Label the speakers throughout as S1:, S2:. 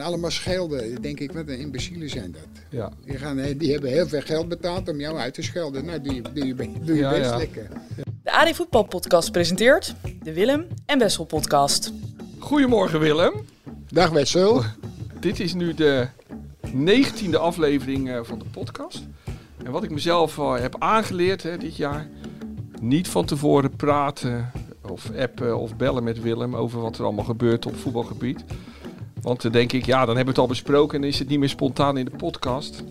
S1: allemaal schelden. Dan denk ik, wat een imbecielen zijn dat.
S2: Ja.
S1: Die, gaan, eh, die hebben heel veel geld betaald om jou uit te schelden. Nou, doe je, doe je, be- doe je
S2: Ja,
S1: best
S2: ja.
S1: lekker.
S3: De AD Voetbal Podcast presenteert de Willem en Wessel Podcast.
S2: Goedemorgen Willem.
S1: Dag Wessel.
S2: Dit is nu de negentiende aflevering eh, van de podcast. En wat ik mezelf eh, heb aangeleerd hè, dit jaar, niet van tevoren praten of appen of bellen met Willem over wat er allemaal gebeurt op voetbalgebied. Want dan denk ik, ja, dan hebben we het al besproken en dan is het niet meer spontaan in de podcast.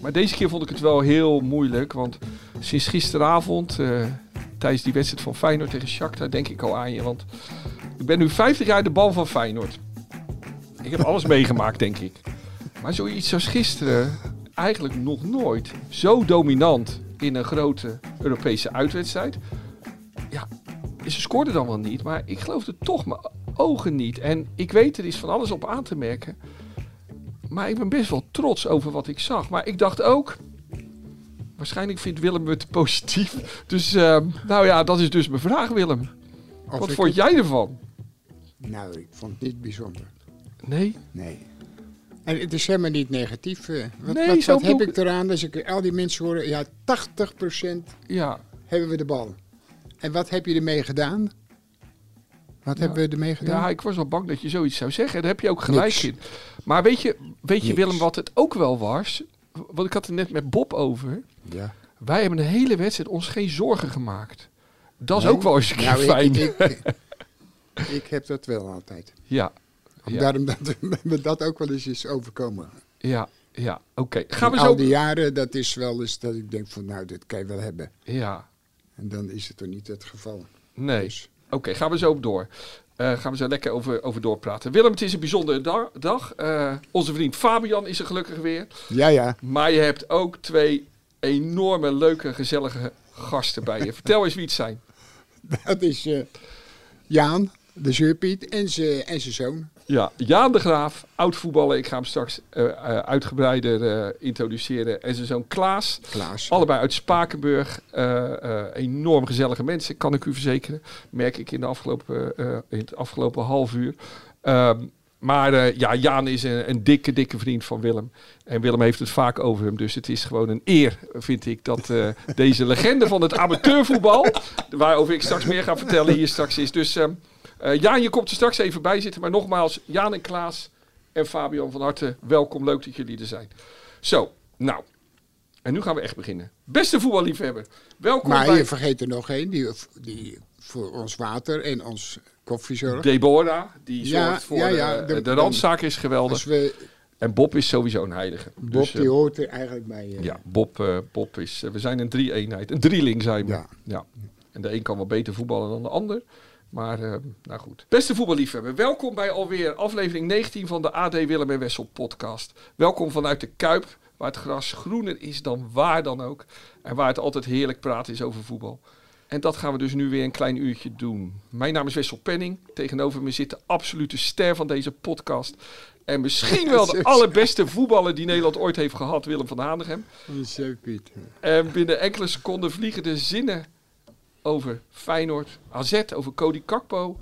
S2: Maar deze keer vond ik het wel heel moeilijk, want sinds gisteravond, eh, tijdens die wedstrijd van Feyenoord tegen Shakhtar, denk ik al aan je. Want ik ben nu 50 jaar de bal van Feyenoord. Ik heb alles meegemaakt, denk ik. Maar zoiets als gisteren, eigenlijk nog nooit zo dominant in een grote Europese uitwedstrijd. Ja, ze scoorden dan wel niet, maar ik geloofde toch mijn ogen niet. En ik weet, er is van alles op aan te merken. Maar ik ben best wel trots over wat ik zag. Maar ik dacht ook, waarschijnlijk vindt Willem het positief. Dus eh, nou ja, dat is dus mijn vraag, Willem.
S1: Of
S2: Wat
S1: ik
S2: vond
S1: het-
S2: jij ervan?
S1: Nou, ik vond het niet bijzonder.
S2: Nee?
S1: Nee. En het is helemaal niet negatief. eh. Wat,
S2: Nee,
S1: wat,
S2: zo
S1: wat heb
S2: bedoel-
S1: ik eraan als ik al die mensen hoor? Ja, 80%
S2: Ja.
S1: hebben we de bal. En wat heb je ermee gedaan? Wat hebben we ermee gedaan?
S2: Ja, ik was wel bang dat je zoiets zou zeggen. Daar heb je ook gelijk
S1: Niks.
S2: in. Maar weet je, weet je
S1: Niks.
S2: Willem, wat het ook wel was? Want ik had het net met Bob over.
S1: ja.
S2: Wij hebben de hele wedstrijd ons geen zorgen gemaakt. Dat is
S1: Nee?
S2: ook wel eens een keer
S1: Nou, ik-
S2: fijn.
S1: Ik, ik- ik heb dat wel altijd.
S2: ja, Ja.
S1: Daarom dat me dat ook wel eens is overkomen.
S2: ja, ja. Oké, gaan we
S1: In al
S2: zo...
S1: die jaren, dat is wel eens dat ik denk van nou, dit kan je wel hebben.
S2: Ja,
S1: En dan is het toch niet het geval.
S2: nee.
S1: Dus,
S2: Oké, gaan we zo op door. Eh, gaan we zo lekker over, over doorpraten. Willem, het is een bijzondere da- dag. Eh, onze vriend Fabian is er gelukkig weer.
S1: ja, ja.
S2: Maar je hebt ook twee enorme, leuke, gezellige gasten bij je. Vertel eens wie het zijn.
S1: Dat is eh, Jaan, de zeurpiet en zijn en zijn zoon.
S2: Ja, Jaan de Graaf, oud voetballer. Ik ga hem straks eh, eh, uitgebreider eh, introduceren. En zijn zoon Klaas,
S1: Klaas.
S2: allebei uit Spakenburg. Eh, eh, enorm gezellige mensen, kan ik u verzekeren. Merk ik in, de afgelopen, eh, in het afgelopen half uur. Ehm, maar eh, ja, Jaan is een, een dikke, dikke vriend van Willem. En Willem heeft het vaak over hem. Dus het is gewoon een eer, vind ik, dat eh, deze legende van het amateurvoetbal... waarover ik straks meer ga vertellen, hier straks is. Dus ehm, eh, Jaan, je komt er straks even bij zitten. Maar nogmaals, Jaan en Klaas en Fabian van harte welkom. Leuk dat jullie er zijn. Zo, nou. En nu gaan we echt beginnen. Beste voetballiefhebber, welkom
S1: maar
S2: bij
S1: je vergeet er nog één, die, die voor ons water en ons koffie zorgt.
S2: Deborah. Die
S1: Ja,
S2: zorgt voor
S1: ja, ja,
S2: eh, de,
S1: de-
S2: randzaak is geweldig.
S1: Als Dus we,
S2: En Bob is sowieso een heilige.
S1: Bob,
S2: Dus, eh,
S1: die hoort er eigenlijk bij. eh,
S2: ja, Bob, eh, Bob is... eh, we zijn een drie-eenheid. Een drieling zijn we. Ja.
S1: Ja.
S2: En de een kan wel beter voetballen dan de ander. Maar, eh, nou goed. Beste voetballiefhebber, welkom bij alweer aflevering 19 van de AD Willem en Wessel podcast. Welkom vanuit de Kuip, waar het gras groener is dan waar dan ook. En waar het altijd heerlijk praten is over voetbal. En dat gaan we dus nu weer een klein uurtje doen. Mijn naam is Wessel Penning. Tegenover me zit de absolute ster van deze podcast. En misschien wel de
S1: Zo.
S2: allerbeste voetballer die Nederland ooit heeft gehad, Willem van Hanegem.
S1: Die zeurpiet.
S2: En binnen enkele seconden vliegen de zinnen over Feyenoord, AZ, over Cody Kakpo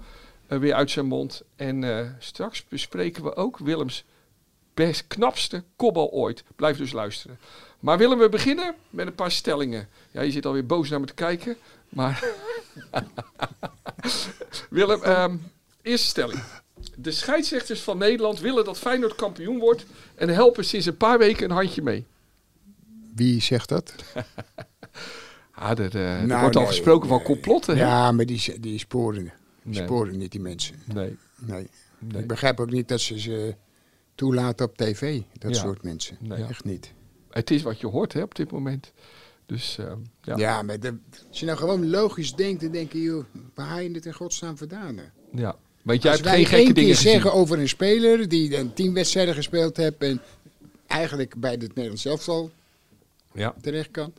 S2: eh, weer uit zijn mond. En eh, straks bespreken we ook Willems best knapste kopbal ooit. Blijf dus luisteren. Maar willen we beginnen met een paar stellingen? Ja, je zit alweer boos naar me te kijken, maar... Willem, ehm, eerste stelling. De scheidsrechters van Nederland willen dat Feyenoord kampioen wordt... en helpen sinds een paar weken een handje mee.
S1: Wie zegt dat?
S2: Ah, er, eh, er
S1: Nou,
S2: wordt al
S1: nee,
S2: gesproken van
S1: nee.
S2: complotten. hè?
S1: Ja, maar die, die sporen, die
S2: Nee.
S1: sporen niet, die mensen.
S2: Nee.
S1: Nee.
S2: Nee.
S1: Ik begrijp ook niet dat ze ze toelaten op tv, dat
S2: Ja.
S1: soort mensen.
S2: Nee.
S1: Echt niet.
S2: Het is wat je hoort hè, op dit moment. Dus ehm, ja.
S1: Ja,
S2: Ja.
S1: maar de- als je nou gewoon logisch denkt, dan denk je, joh, waar haal je het in godsnaam vandaan? hè?
S2: Want jij
S1: als
S2: hebt
S1: wij
S2: geen gekke dingen
S1: één keer
S2: gezien.
S1: zeggen over een speler die een tien wedstrijden gespeeld heeft en eigenlijk bij het Nederlands elftal
S2: Ja,
S1: terecht kan.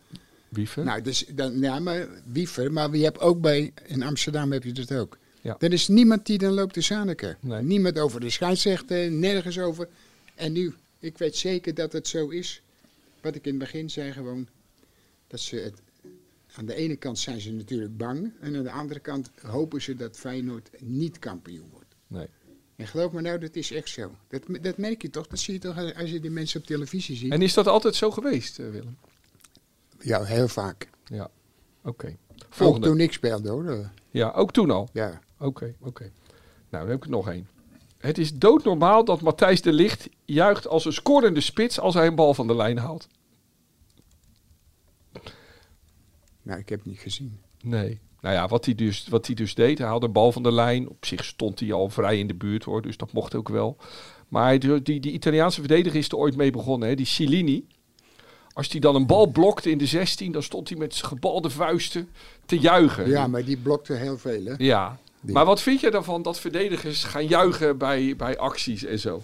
S2: wieven.
S1: Nou, dus dan, ja, maar wiever, maar je hebt ook bij, in Amsterdam heb je dat ook.
S2: Ja.
S1: Er is niemand die dan loopt te zaniken.
S2: Nee.
S1: Niemand over de scheidsrechter, nergens over. En nu, ik weet zeker dat het zo is. Wat ik in het begin zei, gewoon dat ze het. Aan de ene kant zijn ze natuurlijk bang. En aan de andere kant hopen ze dat Feyenoord niet kampioen wordt.
S2: Nee.
S1: En geloof me nou, dat is echt zo. Dat, dat merk je toch? Dat zie je toch als je die mensen op televisie ziet?
S2: En is dat altijd zo geweest, eh, Willem?
S1: Ja, heel vaak.
S2: Ja, oké.
S1: Ook
S2: Volgende.
S1: toen ik speelde hoor.
S2: Ja, ook toen al.
S1: Ja.
S2: Oké, oké. Nou, dan heb ik er nog één. Het is doodnormaal dat Matthijs de Licht juicht als een scorende spits als hij een bal van de lijn haalt.
S1: Nou, ik heb het niet gezien.
S2: Nee. Nou ja, wat hij dus, wat hij dus deed, hij haalde een bal van de lijn. Op zich stond hij al vrij in de buurt hoor, dus dat mocht ook wel. Maar hij- die, die Italiaanse verdediger is er ooit mee begonnen, hè, die Cellini. Als hij dan een bal blokte in de 16, dan stond hij met zijn gebalde vuisten te juichen.
S1: Ja, maar die blokte heel veel, hè?
S2: Ja.
S1: Die-
S2: Maar wat vind je daarvan dat verdedigers gaan juichen bij, bij acties en zo?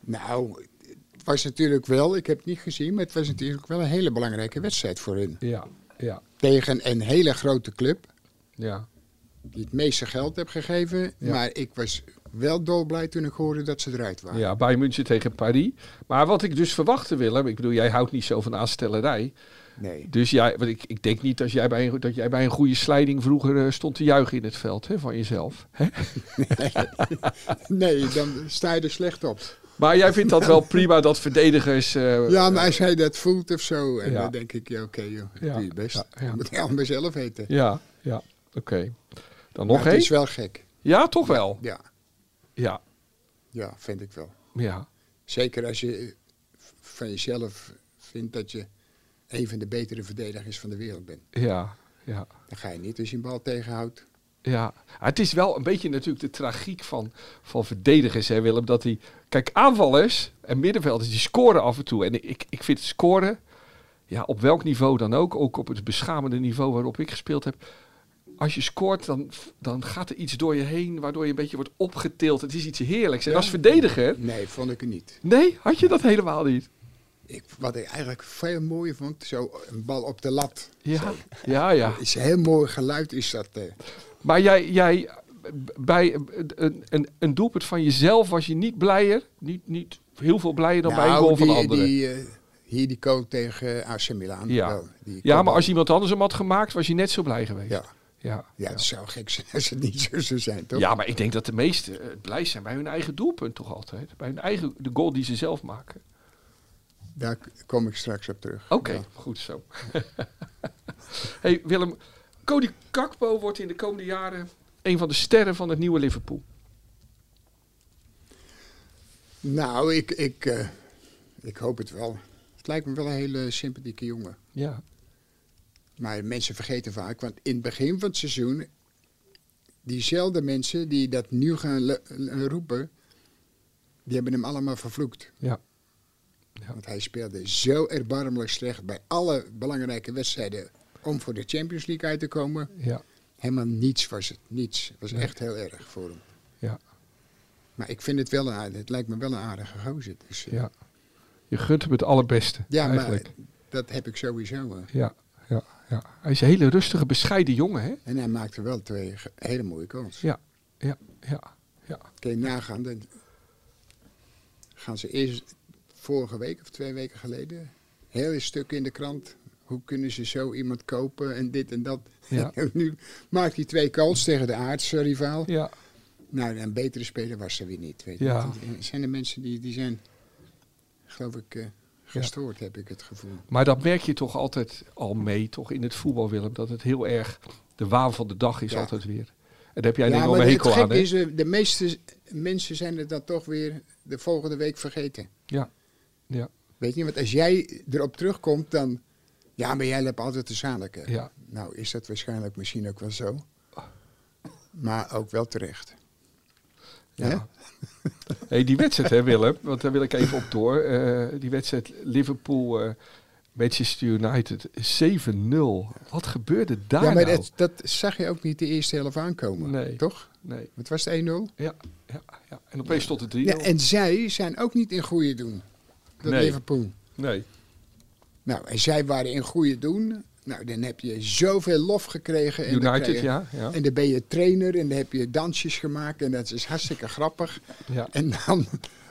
S1: Nou, het was natuurlijk wel, ik heb het niet gezien, maar het was natuurlijk wel een hele belangrijke wedstrijd voor hun.
S2: Ja, ja,
S1: Tegen een hele grote club,
S2: ja.
S1: die het meeste geld heeft gegeven.
S2: Ja.
S1: Maar ik was wel dolblij toen ik hoorde dat ze eruit waren.
S2: Ja, Bayern München tegen Paris. Maar wat ik dus verwachtte, Willem, ik bedoel, jij houdt niet zo van aanstellerij.
S1: Nee.
S2: Dus jij, want ik, ik denk niet dat jij, bij een, dat jij bij een goede slijding vroeger eh, stond te juichen in het veld hè, van jezelf. Hè?
S1: nee, dan sta je er slecht op.
S2: Maar jij vindt dat wel prima dat verdedigers... eh,
S1: Ja, maar als hij dat voelt of zo, en
S2: Ja.
S1: dan denk ik, ja, oké joh,
S2: Ja.
S1: doe je best.
S2: Ja, ja.
S1: Moet je allemaal zelf eten.
S2: Ja, ja, oké. Dan nog
S1: Maar Het
S2: één?
S1: is wel gek.
S2: Ja, toch wel?
S1: Ja,
S2: Ja,
S1: ja, vind ik wel.
S2: ja,
S1: Zeker als je eh, v- van jezelf vindt dat je een van de betere verdedigers van de wereld bent.
S2: ja, ja.
S1: Dan ga je niet als je een bal tegenhoudt.
S2: Ja, Ah, het is wel een beetje natuurlijk de tragiek van, van verdedigers, hè Willem. Dat die, kijk, aanvallers en middenvelders, die scoren af en toe. En ik, ik vind het scoren, ja, op welk niveau dan ook, ook op het beschamende niveau waarop ik gespeeld heb. Als je scoort, dan, dan gaat er iets door je heen, waardoor je een beetje wordt opgetild. Het is iets heerlijks. En
S1: Ja.
S2: als verdediger,
S1: Nee, vond ik het niet.
S2: nee, had je dat helemaal niet.
S1: Ik, wat ik eigenlijk veel mooier vond, zo een bal op de lat.
S2: Ja, ja, ja.
S1: Is een heel mooi geluid is dat. eh.
S2: Maar jij, jij bij een, een, een doelpunt van jezelf was je niet blijer, niet, niet heel veel blijer dan bij een
S1: Nou,
S2: goal van
S1: die-
S2: anderen.
S1: Die, eh, hier die goal tegen eh, AC Milan.
S2: Ja.
S1: wel, die
S2: ja,
S1: kopbal.
S2: maar als iemand anders hem had gemaakt, was je net zo blij geweest.
S1: Ja,
S2: ja.
S1: ja, het zou gek zijn als het niet zo zou zijn, toch?
S2: Ja, maar ik denk dat de meesten eh, blij zijn bij hun eigen doelpunt toch altijd. Bij hun eigen de goal die ze zelf maken.
S1: Daar k- kom ik straks op terug.
S2: Oké,
S1: Ja.
S2: goed zo. hey Willem, Cody Kakpo wordt in de komende jaren een van de sterren van het nieuwe Liverpool.
S1: Nou, ik, ik, eh, ik hoop het wel. Het lijkt me wel een hele sympathieke jongen.
S2: Ja,
S1: Maar mensen vergeten vaak, want in het begin van het seizoen, diezelfde mensen die dat nu gaan le- le- roepen, die hebben hem allemaal vervloekt.
S2: ja,
S1: Want hij speelde zo erbarmelijk slecht bij alle belangrijke wedstrijden om voor de Champions League uit te komen.
S2: ja,
S1: Helemaal niets was het, niets. Het was
S2: Nee.
S1: echt heel erg voor hem.
S2: ja,
S1: Maar ik vind het wel een aardig, het lijkt me wel een aardige gozer. Dus, eh,
S2: ja. Je gunt hem het allerbeste
S1: ja,
S2: eigenlijk.
S1: maar dat heb ik sowieso. eh.
S2: Ja, ja, ja. Hij is een hele rustige, bescheiden jongen, hè?
S1: En hij maakte wel twee ge- hele mooie kansen.
S2: Ja, ja, ja, ja.
S1: Kun je nagaan, dan gaan ze eerst vorige week of twee weken geleden, heel een stuk in de krant. Hoe kunnen ze zo iemand kopen en dit en dat.
S2: Ja.
S1: En nu maakt hij twee calls tegen de aardse rivaal.
S2: Ja,
S1: Nou, een betere speler was er weer niet. Weet je.
S2: Ja.
S1: Het zijn de mensen die, die zijn, geloof ik, eh, gestoord, heb ik het gevoel.
S2: Maar dat merk je toch altijd al mee, toch in het voetbal, Willem, dat het heel erg de waan van de dag is
S1: Ja.
S2: altijd weer. En daar heb jij
S1: ja,
S2: denk ik al
S1: maar
S2: een
S1: het
S2: hekel
S1: gek
S2: aan, hè?
S1: is, eh, de meeste mensen zijn het dan toch weer de volgende week vergeten.
S2: Ja, ja,
S1: Weet je, want als jij erop terugkomt, dan... Ja, maar jij hebt altijd de zadelijke.
S2: ja.
S1: Nou, is dat waarschijnlijk misschien ook wel zo. Maar ook wel terecht.
S2: ja. Hey, die wedstrijd, hè, Willem, want daar wil ik even op door. Eh, die wedstrijd Liverpool, eh, Manchester United, 7-0. Wat gebeurde daar
S1: ja, maar
S2: nou?
S1: dat, dat zag je ook niet de eerste helft aankomen,
S2: Nee.
S1: toch?
S2: Nee,
S1: Het was het 1-0.
S2: ja, ja, ja. En opeens stond het 3-0.
S1: Ja, en zij zijn ook niet in goede doen. Dat
S2: Nee.
S1: Liverpool.
S2: Nee,
S1: Nou, en zij waren in goede doen. Nou, dan heb je zoveel lof gekregen. En dan krijg
S2: United,
S1: je-
S2: ja, ja,
S1: En dan ben je trainer en dan heb je dansjes gemaakt en dat is hartstikke grappig.
S2: ja,
S1: En dan,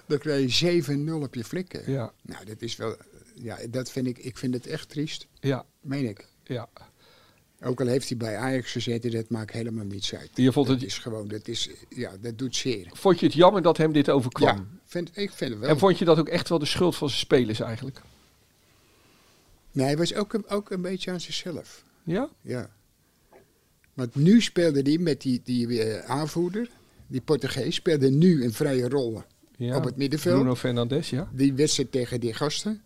S1: dan krijg je 7-0 op je flikken.
S2: ja,
S1: Nou, dat is wel. Ja, dat vind ik. Ik vind het echt triest.
S2: ja.
S1: Meen ik.
S2: Ja.
S1: Ook al heeft hij bij Ajax gezeten, dat maakt helemaal niets uit.
S2: Je vond
S1: Dat
S2: het,
S1: is gewoon, dat is, ja, dat doet zeer.
S2: Eh, vond je het jammer dat hem dit overkwam?
S1: Ja, vind, ik vind het wel.
S2: En vond je dat ook echt wel de schuld van zijn spelers eigenlijk?
S1: Nee, hij was ook, een- ook een beetje aan zichzelf.
S2: Ja?
S1: Ja. Want nu speelde hij met die, die eh, aanvoerder, die Portugees, speelde nu een vrije rol
S2: ja.
S1: op het middenveld.
S2: Bruno Fernandes, ja.
S1: Die wedstrijd tegen die gasten,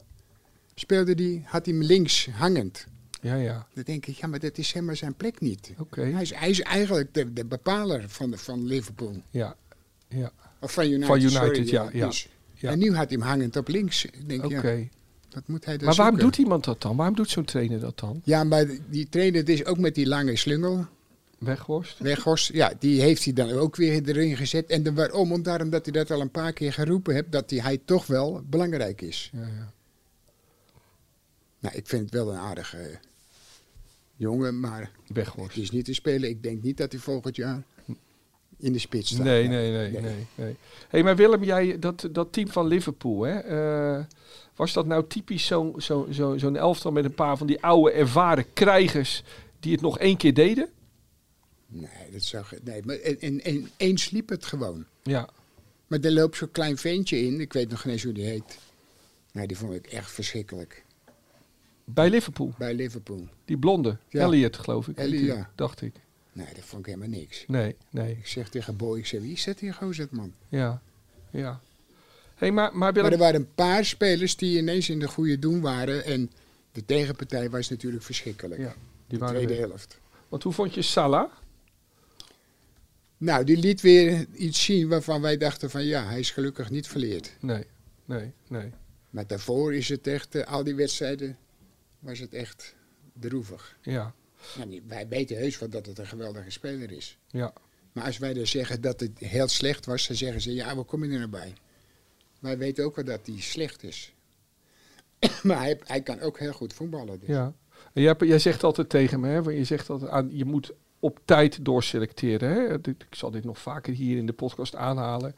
S1: speelde die, had hij hem links hangend.
S2: Ja, ja.
S1: Dan denk ik, ja, maar dat is helemaal zijn plek niet.
S2: Oké.
S1: Hij, is, hij is eigenlijk de, de bepaler van, van Liverpool.
S2: Ja. Ja.
S1: Of van United.
S2: Van United,
S1: sorry,
S2: ja, ja,
S1: dus.
S2: ja.
S1: En nu had hij hem hangend op links. Ik denk,
S2: Oké.
S1: ja, dat eh, moet hij dan
S2: Maar waarom
S1: zoeken.
S2: doet iemand dat dan? Waarom doet zo'n trainer dat dan?
S1: Ja, maar die trainer het is ook met die lange slungel,
S2: Weghorst?
S1: Weghorst. Ja, die heeft hij dan ook weer erin gezet. En de waarom? Om daarom dat hij dat al een paar keer geroepen heeft, dat die, hij toch wel belangrijk is.
S2: Ja, ja.
S1: Nou, ik vind het wel een aardige jongen, maar het
S2: Weghorst.
S1: is niet te spelen. Ik denk niet dat hij volgend jaar in de spits staat.
S2: Nee, nee, nee,
S1: Nee.
S2: nee. nee. hey, maar Willem, jij, dat, dat team van Liverpool, hè, eh, was dat nou typisch zo'n zo, zo, zo'n elftal met een paar van die oude ervaren krijgers die het nog één keer deden?
S1: Nee, dat zag ik. Nee, maar en, en, en eens liep het gewoon.
S2: Ja,
S1: Maar er loopt zo'n klein ventje in, ik weet nog geen eens hoe die heet. Nee, die vond ik echt verschrikkelijk.
S2: bij Liverpool.
S1: Bij Liverpool.
S2: Die blonde,
S1: Ja.
S2: Elliot geloof ik.
S1: Elliot, ja.
S2: Dacht ik.
S1: Nee, dat vond ik helemaal niks.
S2: Nee, nee,
S1: Ik zeg tegen Boy, ik zeg, wie is dat hier gozer, man?
S2: ja, ja. hey, maar, maar Willem...
S1: Maar er waren een paar spelers die ineens in de goede doen waren. En de tegenpartij was natuurlijk verschrikkelijk.
S2: ja,
S1: de
S2: die waren
S1: tweede
S2: er.
S1: helft.
S2: Want hoe vond je Salah?
S1: Nou, die liet weer iets zien waarvan wij dachten van ja, hij is gelukkig niet verleerd.
S2: Nee, nee, nee.
S1: Maar daarvoor is het echt, eh, al die wedstrijden, was het echt droevig.
S2: Ja,
S1: Nou, die- wij weten heus wel dat het een geweldige speler is.
S2: ja.
S1: Maar als wij dan zeggen dat het heel slecht was, dan zeggen ze ja, waar kom je er nou bij? Wij weten ook wel dat hij slecht is. maar hij, hij kan ook heel goed voetballen. Dus.
S2: Ja. En jij, jij zegt altijd tegen me, hè, want je zegt altijd aan, je moet op tijd doorselecteren. Hè? Dit- Ik zal dit nog vaker hier in de podcast aanhalen.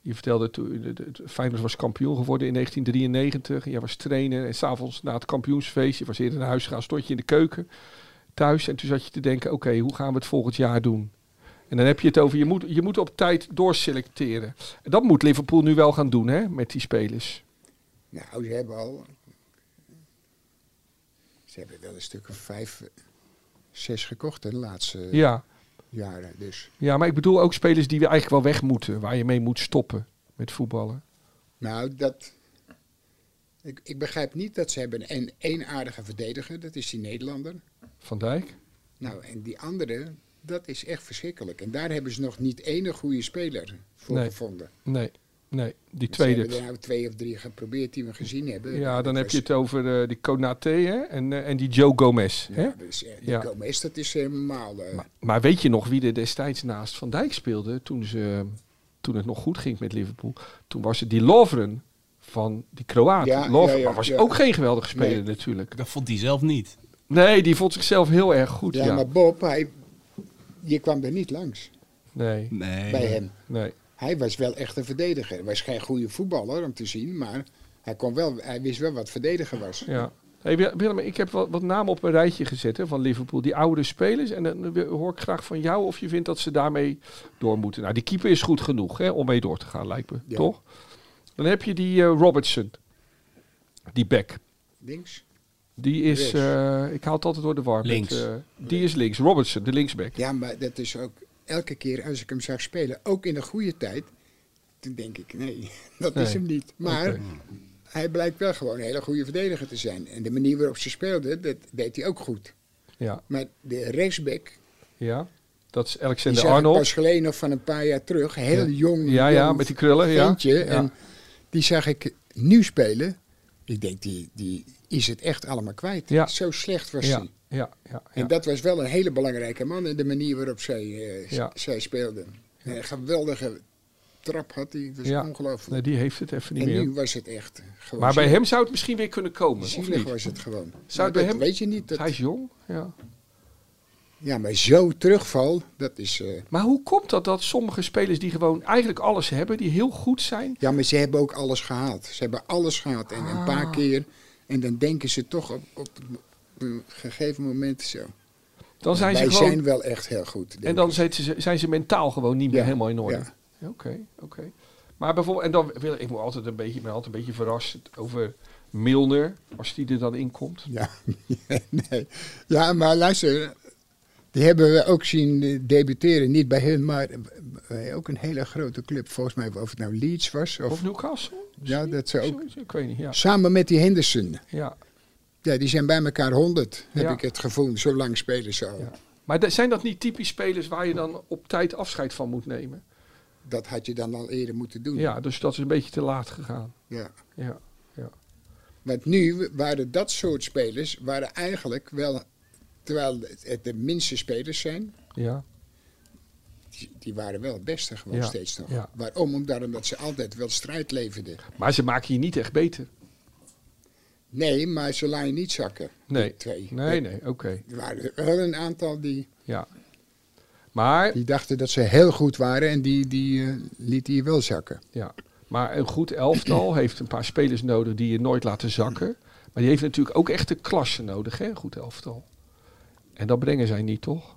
S2: Je vertelde toen de- de- de- Feyenoord was kampioen geworden in 1993. En Jij was trainer en s'avonds na het kampioensfeest, je was eerder naar huis gegaan, stond je in de keuken thuis. En toen zat je te denken, oké, hoe gaan we het volgend jaar doen? En dan heb je het over, je moet, je moet op tijd doorselecteren. En dat moet Liverpool nu wel gaan doen, hè, met die spelers.
S1: Nou, ze hebben al. Ze hebben wel een stuk of vijf, eh, zes gekocht hè, de laatste
S2: Ja.
S1: jaren. Dus.
S2: Ja, maar ik bedoel ook spelers die we eigenlijk wel weg moeten. Waar je mee moet stoppen met voetballen.
S1: Nou, dat. Ik, ik begrijp niet dat ze hebben een één aardige verdediger, dat is die Nederlander.
S2: Van Dijk?
S1: Nou, en die andere, dat is echt verschrikkelijk. En daar hebben ze nog niet ene goede speler voor
S2: Nee.
S1: gevonden.
S2: Nee, nee. Die
S1: Ze hebben er eh,
S2: tweede.
S1: nou twee of drie geprobeerd die we gezien hebben.
S2: Ja, dan
S1: Dat
S2: heb je
S1: was-
S2: het over eh, die Konaté hè? En, eh, en die Joe Gomez. Hè?
S1: Ja, dat is, eh, die
S2: Ja.
S1: Gomez, dat is helemaal. eh,
S2: Maar, maar weet je nog wie er destijds naast Van Dijk speelde toen, ze, toen het nog goed ging met Liverpool? Toen was het die Lovren van die Kroaat.
S1: Ja,
S2: Lovren
S1: ja, ja,
S2: maar was
S1: ja.
S2: ook geen geweldige speler
S1: Nee.
S2: natuurlijk.
S4: Dat vond hij zelf niet.
S2: Nee, die vond zichzelf heel erg goed. Ja,
S1: ja, maar Bob, hij, je kwam er niet langs
S2: Nee,
S4: Nee.
S1: bij hem.
S2: nee.
S1: Hij was wel echt een verdediger. Hij was geen goede voetballer om te zien, maar hij, kon wel, hij wist wel wat verdediger was.
S2: Ja. Hey, Wil- Willem, ik heb wat, wat namen op een rijtje gezet hè, van Liverpool. Die oude spelers. En dan wil- hoor ik graag van jou of je vindt dat ze daarmee door moeten. Nou, die keeper is goed genoeg hè, om mee door te gaan, lijkt me.
S1: Ja.
S2: Toch? Dan heb je die eh, Robertson. Die back.
S1: Links?
S2: Die is...
S1: Rechts.
S2: eh, ik haal het altijd door de war. met,
S4: Links.
S2: eh, die is links. Robertson, de linksback.
S1: Ja, maar dat is ook elke keer als ik hem zag spelen, ook in de goede tijd, toen denk ik, nee, dat
S2: Nee.
S1: is hem niet. Maar
S2: Oké.
S1: hij blijkt wel gewoon een hele goede verdediger te zijn. En de manier waarop ze speelden, dat deed hij ook goed.
S2: Ja,
S1: Maar de rechtsback,
S2: ja. Dat is
S1: die
S2: Alexander
S1: zag ik
S2: Arnold.
S1: pas geleden nog van een paar jaar terug, heel
S2: Ja.
S1: jong.
S2: Ja, ja,
S1: jong
S2: met die krullen. Ja.
S1: ventje.
S2: Ja.
S1: En die zag ik nu spelen. Ik denk, die, die is het echt allemaal kwijt.
S2: Ja.
S1: Zo slecht was
S2: ja,
S1: hij.
S2: ja, ja,
S1: En
S2: ja.
S1: dat was wel een hele belangrijke man in de manier waarop zij, eh, s-
S2: Ja.
S1: zij speelde. En Een geweldige trap had hij. Dat is
S2: Ja. Nee,
S1: ongelooflijk.
S2: die heeft het even niet
S1: en
S2: meer.
S1: nu was het echt gewoon
S2: Maar bij
S1: zielig.
S2: hem zou het misschien weer kunnen komen. Of
S1: Zielig
S2: niet?
S1: was het gewoon.
S2: Zou het
S1: Maar
S2: bij
S1: dat
S2: hem-
S1: weet je niet. dat-
S2: Hij is jong, ja.
S1: ja, maar zo terugval, dat is... eh,
S2: Maar hoe komt dat dat sommige spelers die gewoon eigenlijk alles hebben, die heel goed zijn?
S1: Ja, maar ze hebben ook alles gehaald. Ze hebben alles gehaald. En een
S2: Ah.
S1: paar keer. En dan denken ze toch op, op een gegeven moment zo.
S2: Dan zijn
S1: Wij
S2: ze gewoon,
S1: zijn wel echt heel goed. denk
S2: en dan zijn ze, zijn ze mentaal gewoon niet meer
S1: Ja,
S2: helemaal in orde.
S1: ja.
S2: Ja, Oké, oké. Maar bijvoorbeeld, en dan wil ik, moet altijd een beetje, ik ben altijd een beetje verrast over Milner, als die er dan inkomt.
S1: Ja, nee. ja, maar luister, die hebben we ook zien eh, debuteren. Niet bij hun, maar bij ook een hele grote club. Volgens mij, of het nou Leeds was. Of,
S2: Of Newcastle?
S1: ja, dat ze ook.
S2: Zoiets, Ik weet niet, ja.
S1: Samen met die Henderson.
S2: ja.
S1: Ja, die zijn bij elkaar 100, heb
S2: Ja.
S1: ik het gevoel. Zo lang spelen ze al.
S2: Ja. Maar da- zijn dat niet typisch spelers waar je dan op tijd afscheid van moet nemen?
S1: Dat had je dan al eerder moeten doen.
S2: Ja, dus dat is een beetje te laat gegaan.
S1: Ja.
S2: Ja,
S1: Want nu waren dat soort spelers waren eigenlijk wel, terwijl het de minste spelers zijn,
S2: ja,
S1: die- die waren wel het beste gewoon
S2: Ja,
S1: steeds nog.
S2: ja.
S1: Waarom? Omdat, omdat ze altijd wel strijd leverden.
S2: maar ze maken je niet echt beter.
S1: Nee, maar ze laten je niet zakken.
S2: Nee,
S1: Twee.
S2: nee, nee, oké.
S1: Er waren wel een aantal die,
S2: Ja. Maar,
S1: die dachten dat ze heel goed waren en die, die eh, lieten je wel zakken.
S2: ja. maar een goed elftal heeft een paar spelers nodig die je nooit laten zakken. Maar die heeft natuurlijk ook echt de klasse nodig, hè, een goed elftal. En dat brengen zij niet, toch?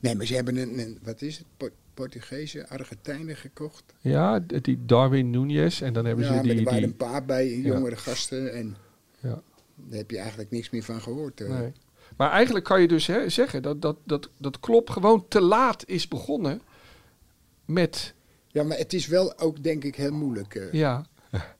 S1: Nee, maar ze hebben een, een wat is het, Po- Portugese, Argentijnen gekocht.
S2: Ja, d- die Darwin Núñez en dan hebben
S1: ja,
S2: ze
S1: maar
S2: die...
S1: er waren
S2: die
S1: een paar bij jongere gasten en
S2: ja,
S1: daar heb je eigenlijk niks meer van gehoord. eh.
S2: nee. Maar eigenlijk kan je dus hè, zeggen dat, dat, dat, dat Klopp gewoon te laat is begonnen met...
S1: Ja, maar het is wel ook denk ik heel moeilijk. eh.
S2: Ja,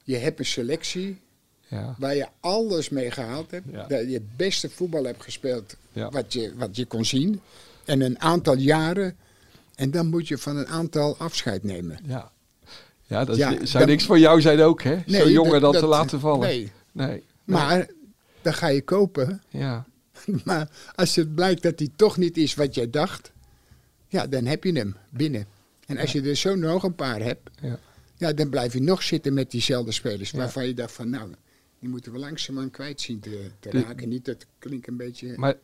S1: Je hebt een selectie
S2: ja,
S1: waar je alles mee gehaald hebt.
S2: Ja.
S1: Dat je het beste voetbal hebt gespeeld
S2: Ja.
S1: wat, je, wat je kon zien. En een aantal jaren. En dan moet je van een aantal afscheid nemen.
S2: ja. Ja, dat
S1: Ja,
S2: is- zou
S1: dat-
S2: niks voor jou zijn ook, hè? Zo
S1: Nee,
S2: jonger
S1: dat-
S2: dan te
S1: dat-
S2: laten vallen.
S1: nee.
S2: nee.
S1: Maar dan ga je kopen.
S2: Ja,
S1: Maar als het blijkt dat die toch niet is wat jij dacht, ja, dan heb je hem binnen. En als je er zo nog een paar hebt,
S2: ja.
S1: ja, dan blijf je nog zitten met diezelfde spelers.
S2: Ja.
S1: Waarvan je dacht van, nou, die moeten we langzaamaan kwijt zien te, te
S2: De-
S1: raken. Niet, dat klinkt een beetje...
S2: Maar,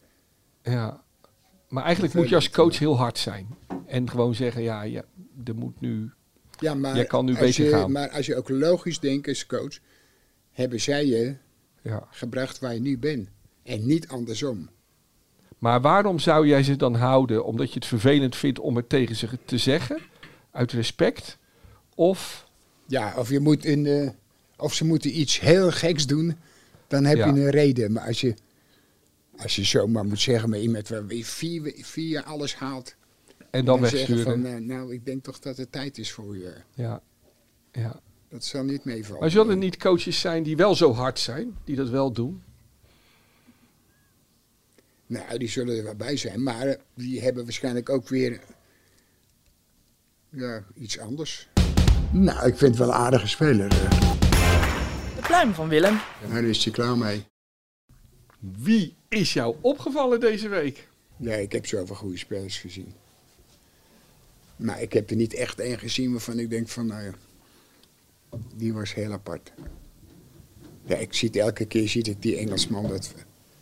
S2: ja. maar eigenlijk moet je als coach heel hard zijn. En gewoon zeggen, ja, ja er moet nu...
S1: ja, maar
S2: jij kan nu
S1: als
S2: beter
S1: je,
S2: gaan.
S1: Maar als je ook logisch denkt als coach, hebben zij je
S2: Ja.
S1: gebracht waar je nu bent. En niet andersom.
S2: Maar waarom zou jij ze dan houden? Omdat je het vervelend vindt om het tegen ze te zeggen? Uit respect? Of...
S1: Ja, of, je moet in, eh, of ze moeten iets heel geks doen, dan heb
S2: Ja.
S1: je een reden. Maar als je, als je zomaar moet zeggen, maar iemand waar wie vier, vier jaar alles haalt,
S2: En dan
S1: zeggen
S2: wegsturen.
S1: van, eh, nou, ik denk toch dat het tijd is voor je.
S2: ja. Ja.
S1: Dat zal niet meevallen.
S2: Maar zullen er niet coaches zijn die wel zo hard zijn? Die dat wel doen?
S1: Nou, die zullen er wel bij zijn, maar eh, die hebben waarschijnlijk ook weer ja, iets anders. Nou, ik vind het wel een aardige speler. eh.
S3: De pluim van Willem.
S1: Daar is hij klaar mee.
S2: Wie is jou opgevallen deze week?
S1: Nee, ik heb zoveel goede spelers gezien. Maar ik heb er niet echt één gezien waarvan ik denk van, nou ja, die was heel apart. Ja, ik zie het elke keer, zie ik die Engelsman dat,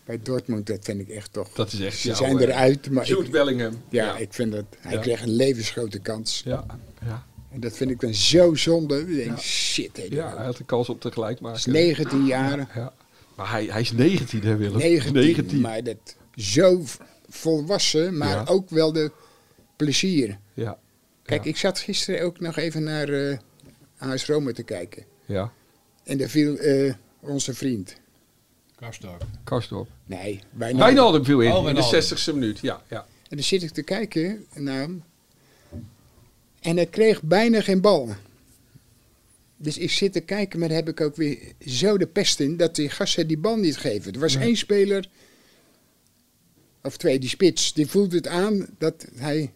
S1: bij Dortmund, dat vind ik echt toch.
S2: Dat is echt
S1: Ze
S2: jouw,
S1: zijn
S2: eh,
S1: eruit, maar
S2: Jude
S1: ik,
S2: Bellingham.
S1: ja, ik vind dat, hij
S2: Ja.
S1: kreeg een levensgrote kans.
S2: Ja. Ja.
S1: En dat vind ik dan zo zonde. Ik denk,
S2: Ja.
S1: shit, hé,
S2: ja, hij
S1: dat
S2: had de kans op tegelijk
S1: is
S2: maken.
S1: 19 jaar,
S2: Ja. Maar hij, hij is 19, hè, Willem?
S1: 19, maar dat zo v- volwassen, maar
S2: Ja.
S1: ook wel de plezier.
S2: Ja.
S1: Kijk,
S2: Ja.
S1: ik zat gisteren ook nog even naar eh AS Rome te kijken.
S2: Ja.
S1: En daar viel eh, onze vriend.
S4: Karstorp.
S2: Karsdorp.
S1: Nee, bijna.
S2: Wijnaldum viel in,
S4: Oh,
S2: in de
S4: Wijnaldum.
S2: 60ste minuut. Ja, ja.
S1: En dan zit ik te kijken naar hem. En hij kreeg bijna geen bal. Dus ik zit te kijken, maar daar heb ik ook weer zo de pest in dat die gasten die bal niet geven. Er was één speler, of twee, die spits, die voelde het aan dat hij,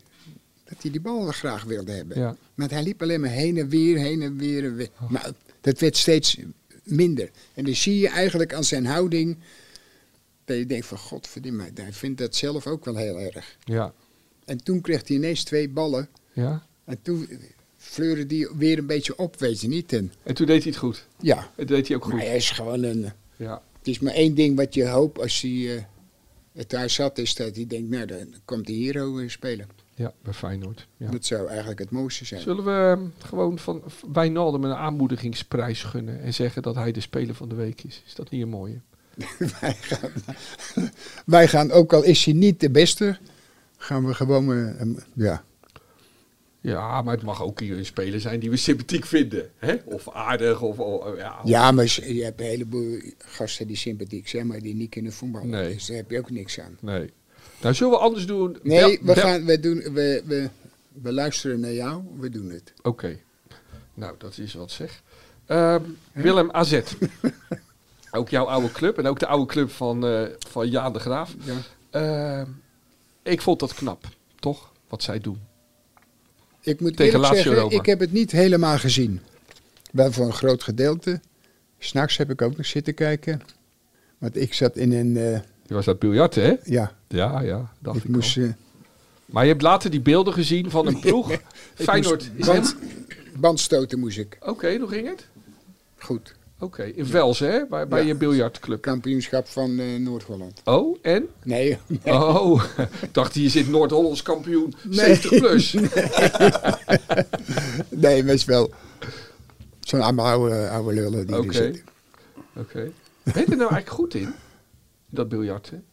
S1: dat hij die bal graag wilde hebben.
S2: Ja.
S1: Maar hij liep alleen maar heen en weer, heen en weer. En weer. Maar dat werd steeds minder. En dan zie je eigenlijk aan zijn houding dat je denkt van godverdomme, hij vindt dat zelf ook wel heel erg.
S2: Ja.
S1: En toen kreeg hij ineens twee ballen.
S2: ja.
S1: En toen fleurde die weer een beetje op, weet je niet. En
S2: En toen deed hij het goed.
S1: ja,
S2: Het deed hij ook
S1: maar
S2: goed.
S1: hij is gewoon een...
S2: Ja.
S1: Het is maar één ding wat je hoopt als hij eh, het daar zat, is dat hij denkt, nou, dan komt hij hier ook weer spelen.
S2: Ja, bij Feyenoord. Ja.
S1: Dat zou eigenlijk het mooiste zijn.
S2: Zullen we ehm, gewoon van Wijnaldum een aanmoedigingsprijs gunnen en zeggen dat hij de speler van de week is? Is dat niet een mooie?
S1: wij, gaan, wij gaan, ook al is hij niet de beste, gaan we gewoon, eh, hem- ja.
S2: Ja, maar het mag ook een speler zijn die we sympathiek vinden. Hè? Of aardig. Of, of- ja, of-
S1: Ja, maar je je hebt een heleboel gasten die sympathiek zijn, maar die niet kunnen voetballen.
S2: Nee.
S1: Dus daar heb je ook niks aan.
S2: Nee. Nou, zullen we anders doen?
S1: Nee,
S2: Bel-
S1: we,
S2: bel-
S1: gaan, we, doen, we, we, we luisteren naar jou, we doen het.
S2: Oké. Nou, dat is wat zeg. Ehm, Willem AZ. ook jouw oude club en ook de oude club van, eh, van Jaan de Graaf.
S1: Ja.
S2: Ehm, ik vond dat knap, toch? Wat zij doen.
S1: Ik moet
S2: Tegen
S1: eerlijk
S2: Lazio
S1: zeggen,
S2: Roma.
S1: ik heb het niet helemaal gezien. Wel voor een groot gedeelte. S'nachts heb ik ook nog zitten kijken. Want ik zat in een, eh,
S2: Je was dat biljart, hè?
S1: ja,
S2: Ja, ja, dacht ik,
S1: ik moest...
S2: al.
S1: eh,
S2: Maar je hebt later die beelden gezien van een ploeg.
S1: Ik
S2: Feyenoord
S1: moest
S2: is
S1: band-
S2: helemaal...
S1: Bandstoten moest ik.
S2: Oké, hoe ging het?
S1: Goed.
S2: Oké, in Velsen, hè? Bij, bij
S1: Ja.
S2: je biljartclub.
S1: Kampioenschap van eh, Noord-Holland.
S2: Oh, en?
S1: Nee,
S2: Oh, dacht je, je zit Noord-Hollands kampioen
S1: Nee.
S2: 70 plus.
S1: nee, best wel. Zo'n allemaal oude, oude lullen die
S2: Oké.
S1: er zitten.
S2: Oké. Ben je er nou eigenlijk goed in? Dat biljarten?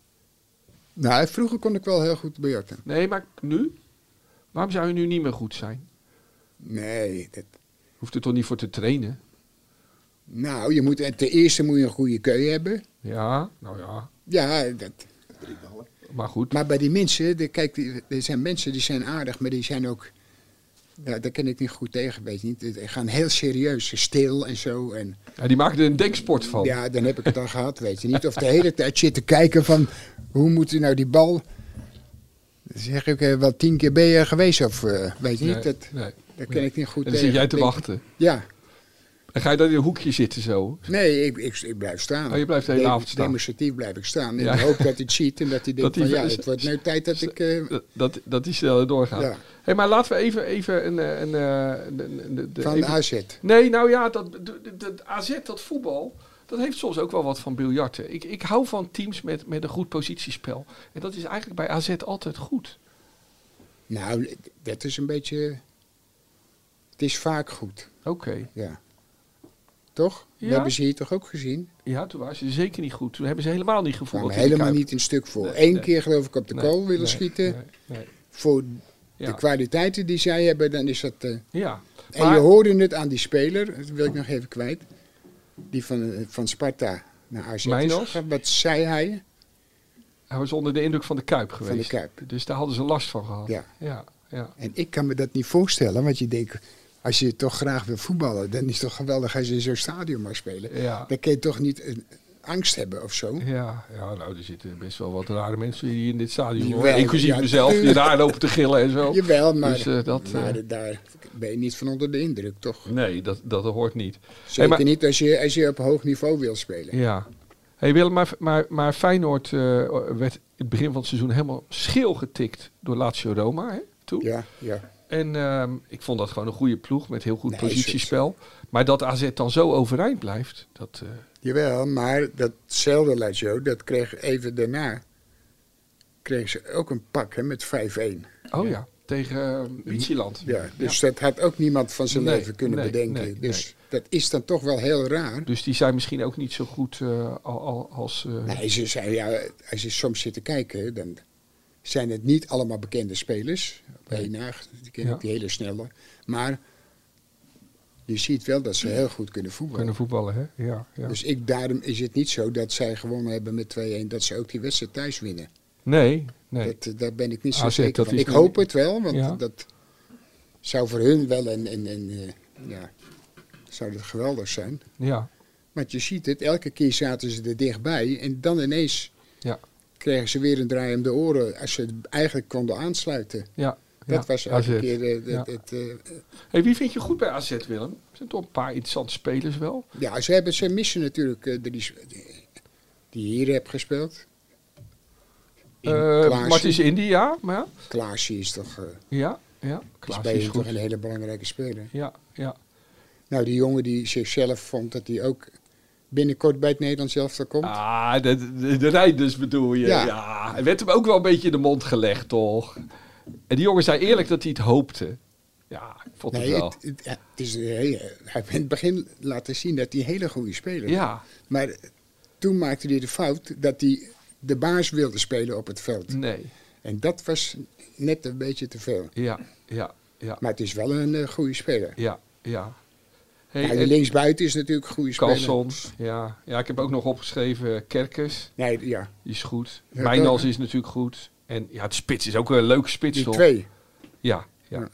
S1: Nou, vroeger kon ik wel heel goed biljarten.
S2: Nee, maar nu? Waarom zou je nu niet meer goed zijn?
S1: Nee, dat,
S2: Hoeft er toch niet voor te trainen?
S1: nou, je moet, ten eerste moet je een goede keu hebben.
S2: Ja, nou ja.
S1: Ja, dat,
S2: Maar goed.
S1: maar bij die mensen, de, kijk, die- er zijn mensen die zijn aardig, maar die zijn ook... Nou, daar ken ik niet goed tegen, weet je niet. Die gaan heel serieus, stil en zo. En,
S2: Ja, die maken er een denksport van.
S1: Ja, dan heb ik het al gehad, weet je niet. Of de hele tijd zitten kijken van hoe moet u nou die bal. Dan zeg ik eh, wel tien keer ben je er geweest of eh, weet je
S2: Nee,
S1: niet. Dat,
S2: nee.
S1: dat ken ik niet goed.
S2: En dan
S1: tegen.
S2: zit jij te
S1: Ik-
S2: wachten.
S1: Ja,
S2: En ga je dan in een hoekje zitten zo?
S1: nee, ik, ik, ik blijf staan.
S2: Oh, je blijft de hele avond staan.
S1: Demonstratief blijf ik staan. In
S2: Ja.
S1: de hoop dat hij het ziet en dat hij denkt
S2: Dat hij
S1: van ja,
S2: ver-
S1: het wordt nu tijd dat ik... eh,
S2: Dat- Dat, dat die sneller doorgaat.
S1: Ja.
S2: Hey, maar laten we even, even een... eh, een, eh, een, een- een- de-
S1: van
S2: even-
S1: AZ.
S2: Nee, nou ja, dat, de- de- de AZ, dat voetbal, dat heeft soms ook wel wat van biljarten. Ik, ik hou van teams met, met een goed positiespel. En dat is eigenlijk bij AZ altijd goed.
S1: Nou, dat is een beetje... Het is vaak goed,
S2: Oké.
S1: ja. Toch?
S2: Ja.
S1: We hebben ze hier toch ook gezien?
S2: Ja, toen waren ze zeker niet goed. Toen hebben ze helemaal niet
S1: Kwam
S2: gevoeld.
S1: helemaal niet een stuk voor.
S2: Nee,
S1: Eén
S2: nee.
S1: keer geloof ik op de kool willen schieten. Voor
S2: Ja.
S1: de kwaliteiten die zij hebben, dan is dat... eh,
S2: Ja.
S1: En
S2: Maar-
S1: je hoorde het aan die speler, dat wil ik nog even kwijt. Die van, eh, van Sparta naar AZ is
S2: Mijnos?
S1: gegaan. Wat zei hij?
S2: Hij was onder de indruk van de Kuip geweest.
S1: Kuip.
S2: Dus daar hadden ze last van gehad.
S1: Ja.
S2: Ja, ja.
S1: En ik kan me dat niet voorstellen, want je denkt... Als je toch graag wil voetballen, dan is het toch geweldig als je in zo'n stadion mag spelen.
S2: Ja.
S1: Dan kun je toch niet een angst hebben of zo.
S2: Ja, ja, nou, er zitten best wel wat rare mensen hier in dit stadion. hoor.
S1: Jawel,
S2: Inclusief
S1: ja,
S2: mezelf, die
S1: tuurlijk.
S2: daar lopen te gillen en zo.
S1: Jawel, maar,
S2: Dus, eh, dat, eh,
S1: maar daar ben je niet van onder de indruk, toch?
S2: Nee, dat, dat hoort niet.
S1: Zeker
S2: maar-
S1: niet als je, als je op hoog niveau wil spelen.
S2: Ja. Hey Willem, maar, maar, maar Feyenoord eh, werd in het begin van het seizoen helemaal scheel getikt door Lazio Roma. Hè, toen.
S1: Ja, ja.
S2: En ehm, ik vond dat gewoon een goede ploeg met heel goed
S1: Nee,
S2: positiespel. Maar dat AZ dan zo overeind blijft, dat... eh,
S1: Jawel, maar datzelfde Lazio, dat kreeg even daarna... kreeg ze ook een pak hè, met 5-1.
S2: oh ja, tegen uh, Michieland.
S1: Ja, dus dat had ook niemand van zijn
S2: Nee,
S1: leven kunnen
S2: nee,
S1: bedenken.
S2: nee,
S1: dus dat is dan toch wel heel raar.
S2: Dus die zijn misschien ook niet zo goed eh, al, al, als... eh,
S1: Nee, ze zijn, ja, als je soms zit te kijken, dan zijn het niet allemaal bekende spelers. Op één na, die ken ik,
S2: Ja.
S1: die hele snelle. Maar je ziet wel dat ze heel goed kunnen voetballen.
S2: kunnen voetballen, hè? Ja, ja.
S1: Dus ik, daarom is het niet zo dat zij gewonnen hebben met 2-1, dat ze ook die wedstrijd thuis winnen.
S2: nee, nee.
S1: Dat, eh, daar ben ik niet zo
S2: AZ,
S1: zeker
S2: dat
S1: van.
S2: is
S1: Ik
S2: nu-
S1: hoop het wel, want
S2: Ja.
S1: dat zou voor hun wel een, een, een eh, ja, zou dat geweldig zijn.
S2: Ja,
S1: Want je ziet het, elke keer zaten ze er dichtbij en dan ineens
S2: ja,
S1: kregen ze weer een draai om de oren als ze het eigenlijk konden aansluiten.
S2: ja.
S1: Dat was elke
S2: AZ.
S1: keer eh, het,
S2: Ja.
S1: het, eh,
S2: Hey, wie vind je goed bij AZ, Willem? Er zijn toch een paar interessante spelers wel?
S1: ja, ze, hebben, ze missen natuurlijk eh, drie sp- die je hier hebt gespeeld. In
S2: Eh
S1: Klaassen.
S2: Martins India, maar ja.
S1: Klaasje is toch, eh,
S2: Ja, ja.
S1: is
S2: Klaas
S1: bij
S2: is
S1: hun toch een
S2: goed.
S1: hele belangrijke speler.
S2: Ja, ja.
S1: Nou, die jongen die zichzelf vond dat hij ook binnenkort bij het Nederlands elftal komt.
S2: Ah, de, de, de rijders bedoel je. Ja.
S1: Ja.
S2: Hij werd hem ook wel een beetje in de mond gelegd, toch? En die jongen zei eerlijk dat hij het hoopte. Ja, ik vond
S1: nee,
S2: het wel.
S1: het, het- ja, het is, eh, hij heeft in het begin laten zien dat hij een hele goede speler is.
S2: ja,
S1: Maar toen maakte hij de fout dat hij de baas wilde spelen op het veld.
S2: Nee.
S1: En dat was net een beetje te veel.
S2: Ja, ja, ja,
S1: Maar het is wel een eh, goede speler.
S2: ja, ja. Hey,
S1: Ja, die
S2: en
S1: linksbuiten is natuurlijk een goede speler.
S2: Carlsons, ja. ja, ik heb ook nog opgeschreven eh, Kerkers,
S1: Nee, ja.
S2: die is goed.
S1: Ja,
S2: Mijndals
S1: Kerk-
S2: is natuurlijk goed. En ja, het spits is ook een leuke spits,
S1: Die
S2: toch?
S1: twee.
S2: Ja, ja.
S1: Ja.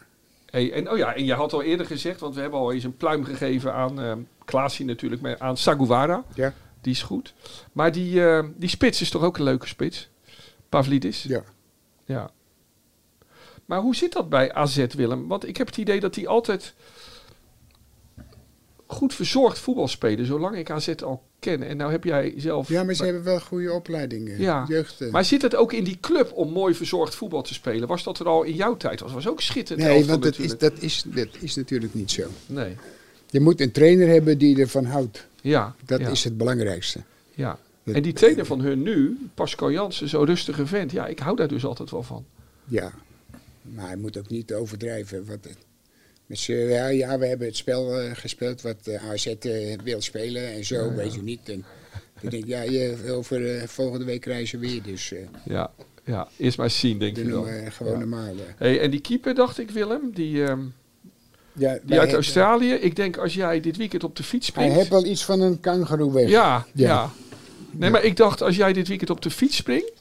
S2: Hey, en, oh ja, en je had al eerder gezegd, want we hebben al eens een pluim gegeven aan ehm Klaasie natuurlijk, maar aan Saguara.
S1: Ja.
S2: Die is goed. Maar die, eh, die spits is toch ook een leuke spits? Pavlidis?
S1: ja.
S2: Ja. Maar hoe zit dat bij AZ, Willem? Want ik heb het idee dat die altijd goed verzorgd voetbal spelen, zolang ik AZ al ken. En nou heb jij zelf...
S1: Ja, maar ze hebben wel goede opleidingen.
S2: Ja.
S1: Jeugd, eh.
S2: Maar zit het ook in die club om mooi verzorgd voetbal te spelen? Was dat er al in jouw tijd? Was was ook schitterend.
S1: nee,
S2: elftal
S1: want dat is,
S2: natuurlijk.
S1: dat, is, dat is natuurlijk niet zo.
S2: Nee.
S1: Je moet een trainer hebben die ervan houdt.
S2: Ja.
S1: Dat
S2: ja,
S1: is het belangrijkste.
S2: Ja.
S1: Dat-
S2: En die trainer van hun nu, Pascal Jansen, zo'n rustige vent. Ja, ik hou daar dus altijd wel van.
S1: Ja. Maar hij moet ook niet overdrijven. Wat, het- met z'n- ja, ja, we hebben het spel eh, gespeeld wat eh, AZ eh, wil spelen en zo, weet je niet. En ik denk, ja, je, over eh, volgende week reizen we weer, dus eh
S2: Ja. Ja. Eerst maar zien, denk je
S1: doe
S2: dan.
S1: hem eh, gewoon
S2: Ja.
S1: normaal. eh.
S2: Hey, en die keeper, dacht ik, Willem, die... ehm, Die
S1: Ja, wij
S2: uit
S1: hebben-
S2: Australië. Ik denk als jij dit weekend op de fiets
S1: Hij heeft
S2: springt.
S1: wel iets van een kangeroe weg.
S2: Ja, ja.
S1: Ja.
S2: Nee, maar ik dacht als jij dit weekend op de fiets springt.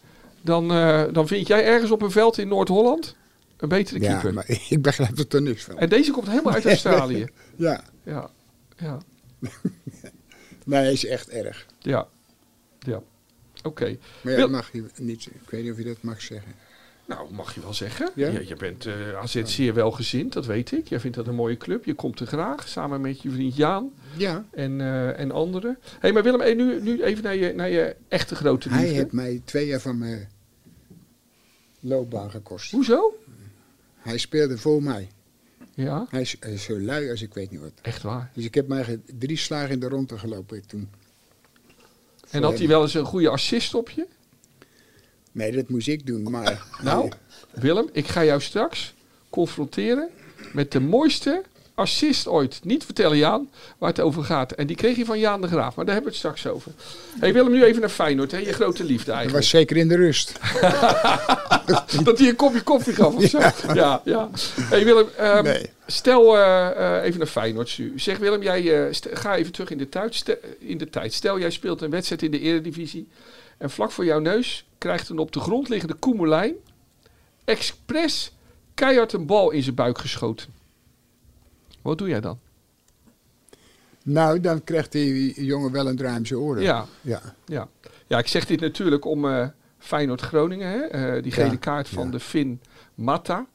S2: Dan, eh, dan vind jij ergens op een veld in Noord-Holland een betere
S1: Ja,
S2: keeper.
S1: maar ik begrijp er toch niks van.
S2: En deze komt helemaal uit Australië.
S1: Ja,
S2: Ja, ja,
S1: nee, hij is echt erg.
S2: ja. ja. Oké.
S1: Maar ja,
S2: Wil-
S1: dat mag je niet. Ik weet niet of je dat mag zeggen.
S2: Nou, mag je wel zeggen.
S1: Ja?
S2: Je, je bent eh AZ zeer welgezind, dat weet ik. Jij vindt dat een mooie club. Je komt er graag, samen met je vriend Jaan
S1: Ja.
S2: en, eh, en anderen. Hé, hey, maar Willem, hey, nu, nu even naar je, naar je echte grote liefde.
S1: Hij heeft mij twee jaar van mijn loopbaan gekost.
S2: Hoezo?
S1: Hij speelde voor mij.
S2: Ja,
S1: Hij is, hij is zo lui als ik weet niet wat.
S2: echt waar.
S1: Dus ik heb mij ge- drie slagen in de ronde gelopen toen.
S2: En had hij
S1: hem.
S2: wel eens een goede assist op je?
S1: Nee, dat moest ik doen, maar...
S2: Nou, Willem, ik ga jou straks confronteren met de mooiste assist ooit. Niet vertellen, Jaan, waar het over gaat. En die kreeg je van Jaan de Graaf, maar daar hebben we het straks over. hey, Willem, nu even naar Feyenoord, hè? je grote liefde
S1: Dat
S2: eigenlijk.
S1: was zeker in de rust.
S2: Dat hij een kopje koffie gaf of zo. Ja, ja. hey, Willem, ehm,
S1: Nee.
S2: stel eh, eh, even naar Feyenoord nu. Zeg Willem, jij, eh, st- ga even terug in de, tijd. Stel- in de tijd. Stel, jij speelt een wedstrijd in de eredivisie. En vlak voor jouw neus krijgt een op de grond liggende Koemelijn... expres keihard een bal in zijn buik geschoten. Wat doe jij dan?
S1: Nou, dan krijgt die jongen wel een draai om zijn oren.
S2: Ja,
S1: Ja.
S2: ja. ja ik zeg dit natuurlijk om eh, Feyenoord-Groningen. hè, eh, die gele
S1: Ja,
S2: kaart van
S1: ja.
S2: de Finn Matta.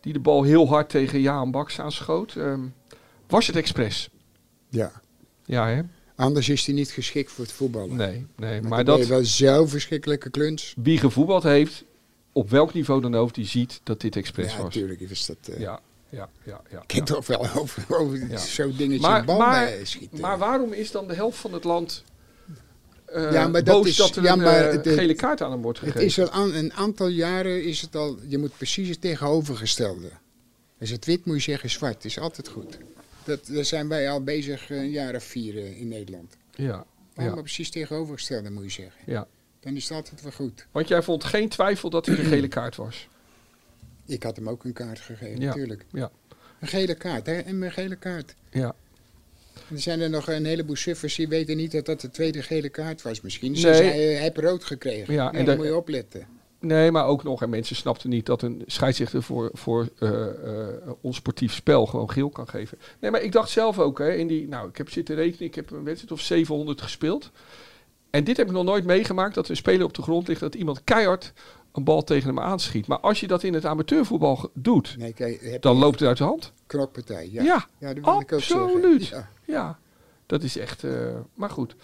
S2: Die de bal heel hard tegen Jaan Baks aanschoot. Ehm, was het expres?
S1: ja.
S2: Ja, hè?
S1: Anders is hij niet geschikt voor het voetballen.
S2: Nee, nee.
S1: Want
S2: Maar
S1: dan ben
S2: dat
S1: je wel zo'n verschrikkelijke kluns.
S2: wie gevoetbald heeft, op welk niveau dan ook, die ziet dat dit expres
S1: Ja,
S2: was.
S1: natuurlijk is dat... eh,
S2: Ja, ja, ja. ja,
S1: Ik ken
S2: ja.
S1: toch wel over, over
S2: Ja.
S1: zo'n dingetje
S2: Maar,
S1: bal
S2: maar,
S1: bij schieten.
S2: maar waarom is dan de helft van het land eh,
S1: Ja, maar dat
S2: boos
S1: is-
S2: dat er
S1: ja,
S2: een
S1: maar
S2: eh,
S1: het- het-
S2: gele kaart aan hem wordt
S1: het
S2: gegeven?
S1: is al aan, een aantal jaren is het al... Je moet precies het tegenovergestelde. Als het wit moet je zeggen zwart. is altijd goed. Dat, daar zijn wij al bezig eh, een jaar of vier eh, in Nederland.
S2: ja,
S1: Allemaal
S2: ja,
S1: precies tegenovergestelde moet je zeggen.
S2: ja.
S1: Dan is het altijd wel goed.
S2: Want jij vond geen twijfel dat hij een gele kaart was.
S1: Ik had hem ook een kaart gegeven,
S2: Ja.
S1: natuurlijk.
S2: Ja,
S1: Een gele kaart, hè? En een gele kaart.
S2: ja.
S1: En Er zijn er nog een heleboel suffers die weten niet dat dat de tweede gele kaart was. Misschien
S2: Nee.
S1: ze zei, eh, heb rood gekregen.
S2: Ja,
S1: Ja,
S2: en
S1: en
S2: dat-
S1: daar moet je opletten.
S2: Nee, maar ook nog. En mensen snapten niet dat een scheidsrechter voor, voor eh, eh, onsportief spel gewoon geel kan geven. Nee, maar ik dacht zelf ook, hè, in die, nou, ik heb zitten rekenen, ik heb een wedstrijd of 700 gespeeld. En dit heb ik nog nooit meegemaakt, dat een speler op de grond ligt, dat iemand keihard een bal tegen hem aanschiet. Maar als je dat in het amateurvoetbal ge- doet,
S1: Nee, kijk, heb
S2: dan
S1: je
S2: loopt het uit de hand.
S1: knokpartij. Ja,
S2: Ja,
S1: dat wil ik ook zeggen.
S2: absoluut.
S1: Ja.
S2: Ja, dat is echt. eh, maar goed.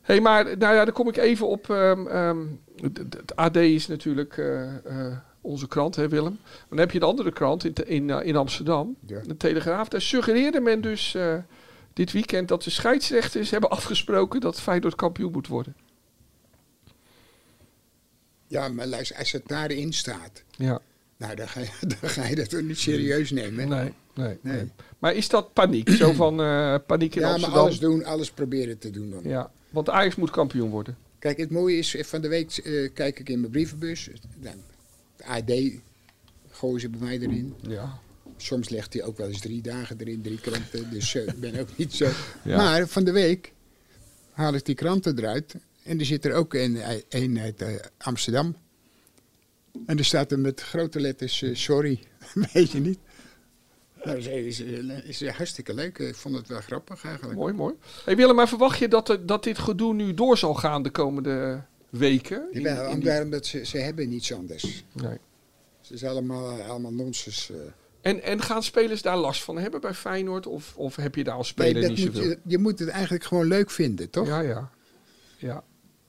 S2: Hé, hey, maar nou ja, dan kom ik even op. ehm, ehm, het- het het AD is natuurlijk eh, eh, onze krant, hè, Willem. Maar dan heb je de andere krant in, te- in, eh, in Amsterdam,
S1: Ja.
S2: de Telegraaf. Daar suggereerde men dus eh, dit weekend dat de scheidsrechters hebben afgesproken dat Feyenoord kampioen moet worden.
S1: Ja, maar luister, als het daarin staat,
S2: Ja,
S1: nou, dan, ga je, dan ga je dat toch niet serieus nemen.
S2: nee, nee. nee.
S1: Nee.
S2: Maar is dat paniek? Zo van eh, paniek in
S1: ja, maar
S2: Amsterdam?
S1: alles doen, alles proberen te doen dan.
S2: Ja, Want Ajax moet kampioen worden.
S1: Kijk, het mooie is, eh, van de week eh, kijk ik in mijn brievenbus. Nou, de AD gooien ze bij mij erin.
S2: Ja.
S1: Soms legt hij ook wel eens drie dagen erin, drie kranten. Dus eh, ik ben ook niet zo.
S2: Ja.
S1: Maar van de week haal ik die kranten eruit. En er zit er ook een, een uit eh, Amsterdam. En er staat er met grote letters, eh, sorry, weet je niet. Nou, dat is, is, is eh, hartstikke leuk. Ik vond het wel grappig eigenlijk.
S2: Mooi, mooi. Hey Willem, maar verwacht je dat, er- dat dit gedoe nu door zal gaan de komende weken? In-
S1: Jawel,
S2: in die-
S1: omdat ze, ze hebben niets anders.
S2: Nee.
S1: Het is allemaal, allemaal nonsens. eh.
S2: En, en gaan spelers daar last van hebben bij Feyenoord? Of, of heb je daar als speler
S1: Nee, dat
S2: niet
S1: moet
S2: zoveel?
S1: je, je moet het eigenlijk gewoon leuk vinden, toch?
S2: Ja, ja, ja.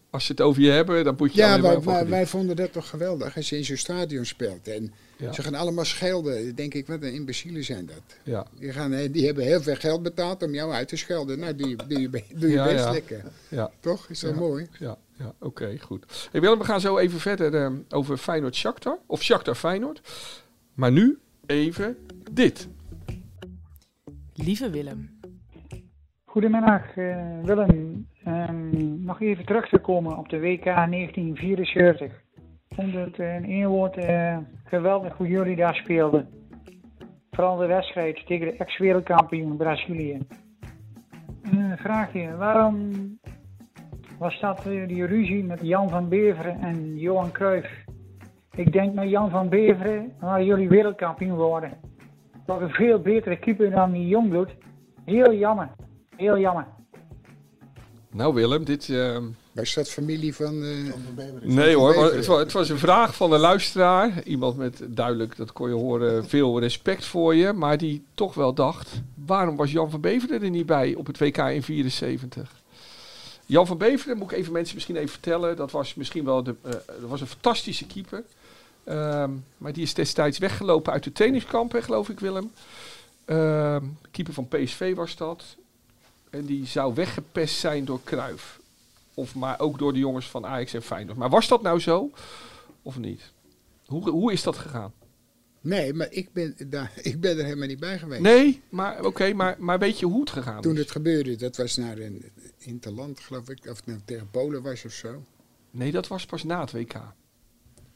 S2: Als ze het over je hebben, dan moet je
S1: Ja,
S2: alleen maar,
S1: maar,
S2: van
S1: maar
S2: genieten.
S1: wij vonden dat toch geweldig als je in zo'n stadion speelt. En
S2: Ja.
S1: ze gaan allemaal schelden. Dan denk ik, wat een imbecielen zijn dat.
S2: Ja.
S1: Die, gaan, eh, die hebben heel veel geld betaald om jou uit te schelden. Nou, doe je, doe je, be- doe je
S2: Ja,
S1: best
S2: ja.
S1: lekker.
S2: Ja.
S1: Toch? Is dat
S2: Ja.
S1: mooi?
S2: Ja, ja oké, goed. Hey Willem, we gaan zo even verder eh, over Feyenoord-Shakhtar. Of Shakhtar-Feyenoord. Maar nu even dit.
S3: Lieve Willem.
S4: Goedemiddag eh, Willem. Ehm, nog even terug te komen op de WK 1974. Ik vond het eh, in één woord eh, geweldig hoe jullie daar speelden. Vooral de wedstrijd tegen de ex-wereldkampioen Brazilië. Een vraagje, waarom was dat eh, die ruzie met Jan van Beveren en Johan Cruijff? Ik denk met Jan van Beveren waren jullie wereldkampioen geworden. Toch een veel betere keeper dan die Jongbloed. Heel jammer. Heel jammer.
S2: Nou Willem, dit... eh,
S1: Was dat familie van... eh,
S2: Nee hoor, maar
S1: Beveren.
S2: het, was, het was een vraag van een luisteraar. Iemand met duidelijk, dat kon je horen, veel respect voor je. Maar die toch wel dacht, waarom was Jan van Beveren er niet bij op het WK in 74? Jan van Beveren, moet ik even mensen misschien even vertellen. Dat was misschien wel de, eh, dat was een fantastische keeper. Ehm, maar die is destijds weggelopen uit de trainingskamp, hè, geloof ik Willem. Ehm, keeper van PSV was dat. En die zou weggepest zijn door Kruif. Of maar ook door de jongens van Ajax en Feyenoord. Maar was dat nou zo of niet? Hoe, hoe is dat gegaan?
S1: nee, maar ik ben, daar, ik ben er helemaal niet bij geweest.
S2: Nee, maar oké, maar, maar weet je hoe het gegaan
S1: Toen
S2: is?
S1: het gebeurde, dat was naar een interland, geloof ik. Of het nou tegen Polen was of zo.
S2: Nee, dat was pas na het WK.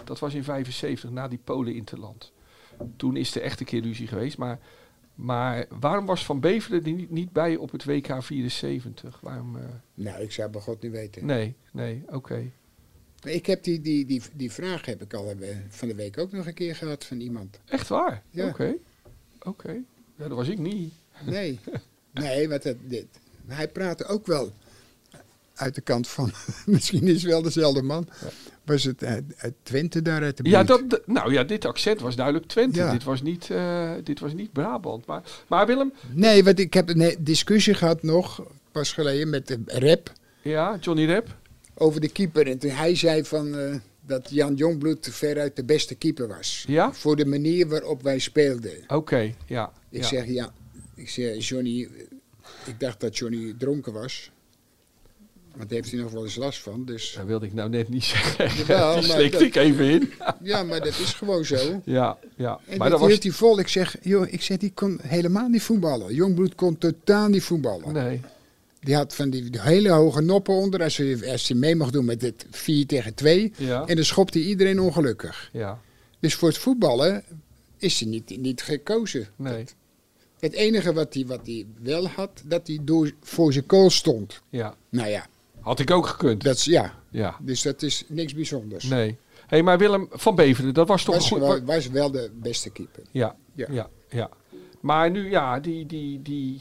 S2: Dat was in 75, na die Polen interland. Toen is er echt een keer ruzie geweest. Maar, maar waarom was Van Beveren er niet, niet bij op het WK 74? Waarom, eh,
S1: Nou, ik zou bij God niet weten.
S2: nee, nee, oké.
S1: Maar Ik heb die, die, die, die vraag heb ik al eh, van de week ook nog een keer gehad van iemand.
S2: Echt waar?
S1: Ja.
S2: Oké, oké. Ja, dat was ik niet.
S1: Nee, nee want het, dit, hij praatte ook wel uit de kant van, misschien is het wel dezelfde man, was het eh, uit, uit Twente daar uit de buurt.
S2: Ja, dat, d- nou ja, dit accent was duidelijk Twente.
S1: Ja.
S2: Dit, was niet, eh, dit was niet Brabant. Maar, maar Willem,
S1: Nee, want ik heb een eh, discussie gehad nog, pas geleden, met de rap
S2: ja, Johnny Rep.
S1: over de keeper. En toen hij zei van, eh, dat Jan Jongbloed veruit de beste keeper was.
S2: Ja?
S1: Voor de manier waarop wij speelden.
S2: Oké, ja.
S1: Ik
S2: ja.
S1: zeg ja. Ik zeg Johnny. Ik dacht dat Johnny dronken was. Want daar heeft hij nog wel eens last van. Dus
S2: Dat wilde ik nou net niet zeggen.
S1: Jawel,
S2: Die
S1: maar
S2: slikte
S1: dat-
S2: ik even in.
S1: ja, maar dat is gewoon zo.
S2: Ja, ja. maar
S1: En dat
S2: dat was...
S1: hield hij vol. Ik zeg, joh, ik zeg, die kon helemaal niet voetballen. Jongbloed kon totaal niet voetballen.
S2: Nee,
S1: Die had van die hele hoge noppen onder. Als hij, als hij mee mocht doen met het 4 tegen 2.
S2: ja.
S1: En dan schopte hij iedereen ongelukkig.
S2: Ja,
S1: Dus voor het voetballen is hij niet, niet gekozen.
S2: nee.
S1: Het enige wat hij, wat hij wel had, dat hij door, voor zijn kool stond.
S2: Ja.
S1: Nou ja,
S2: Had ik ook gekund.
S1: dat is, ja,
S2: Ja,
S1: Dus dat is niks bijzonders.
S2: nee. hey, maar Willem van Beveren, dat was toch
S1: was,
S2: een
S1: wel,
S2: goed...
S1: was wel de beste keeper.
S2: Ja, ja,
S1: Ja.
S2: ja, Maar nu, ja, die, die, die,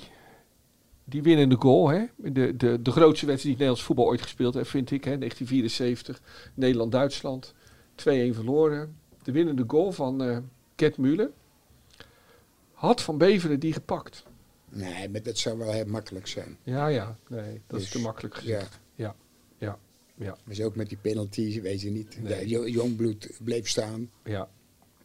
S2: die winnende goal, hè? De, de, de grootste wedstrijd die Nederlands voetbal ooit gespeeld heeft, vind ik, hè? 1974, Nederland-Duitsland, 2-1 verloren. De winnende goal van eh Gert Müller. Had Van Beveren die gepakt?
S1: Nee, maar dat zou wel heel makkelijk zijn.
S2: Ja, ja, nee, dat is
S1: Dus,
S2: te makkelijk gezien.
S1: Ja.
S2: Ja, ja, ja,
S1: Dus ook met die penalty, weet je niet.
S2: Nee.
S1: Ja, Jo- Jongbloed bleef staan.
S2: ja.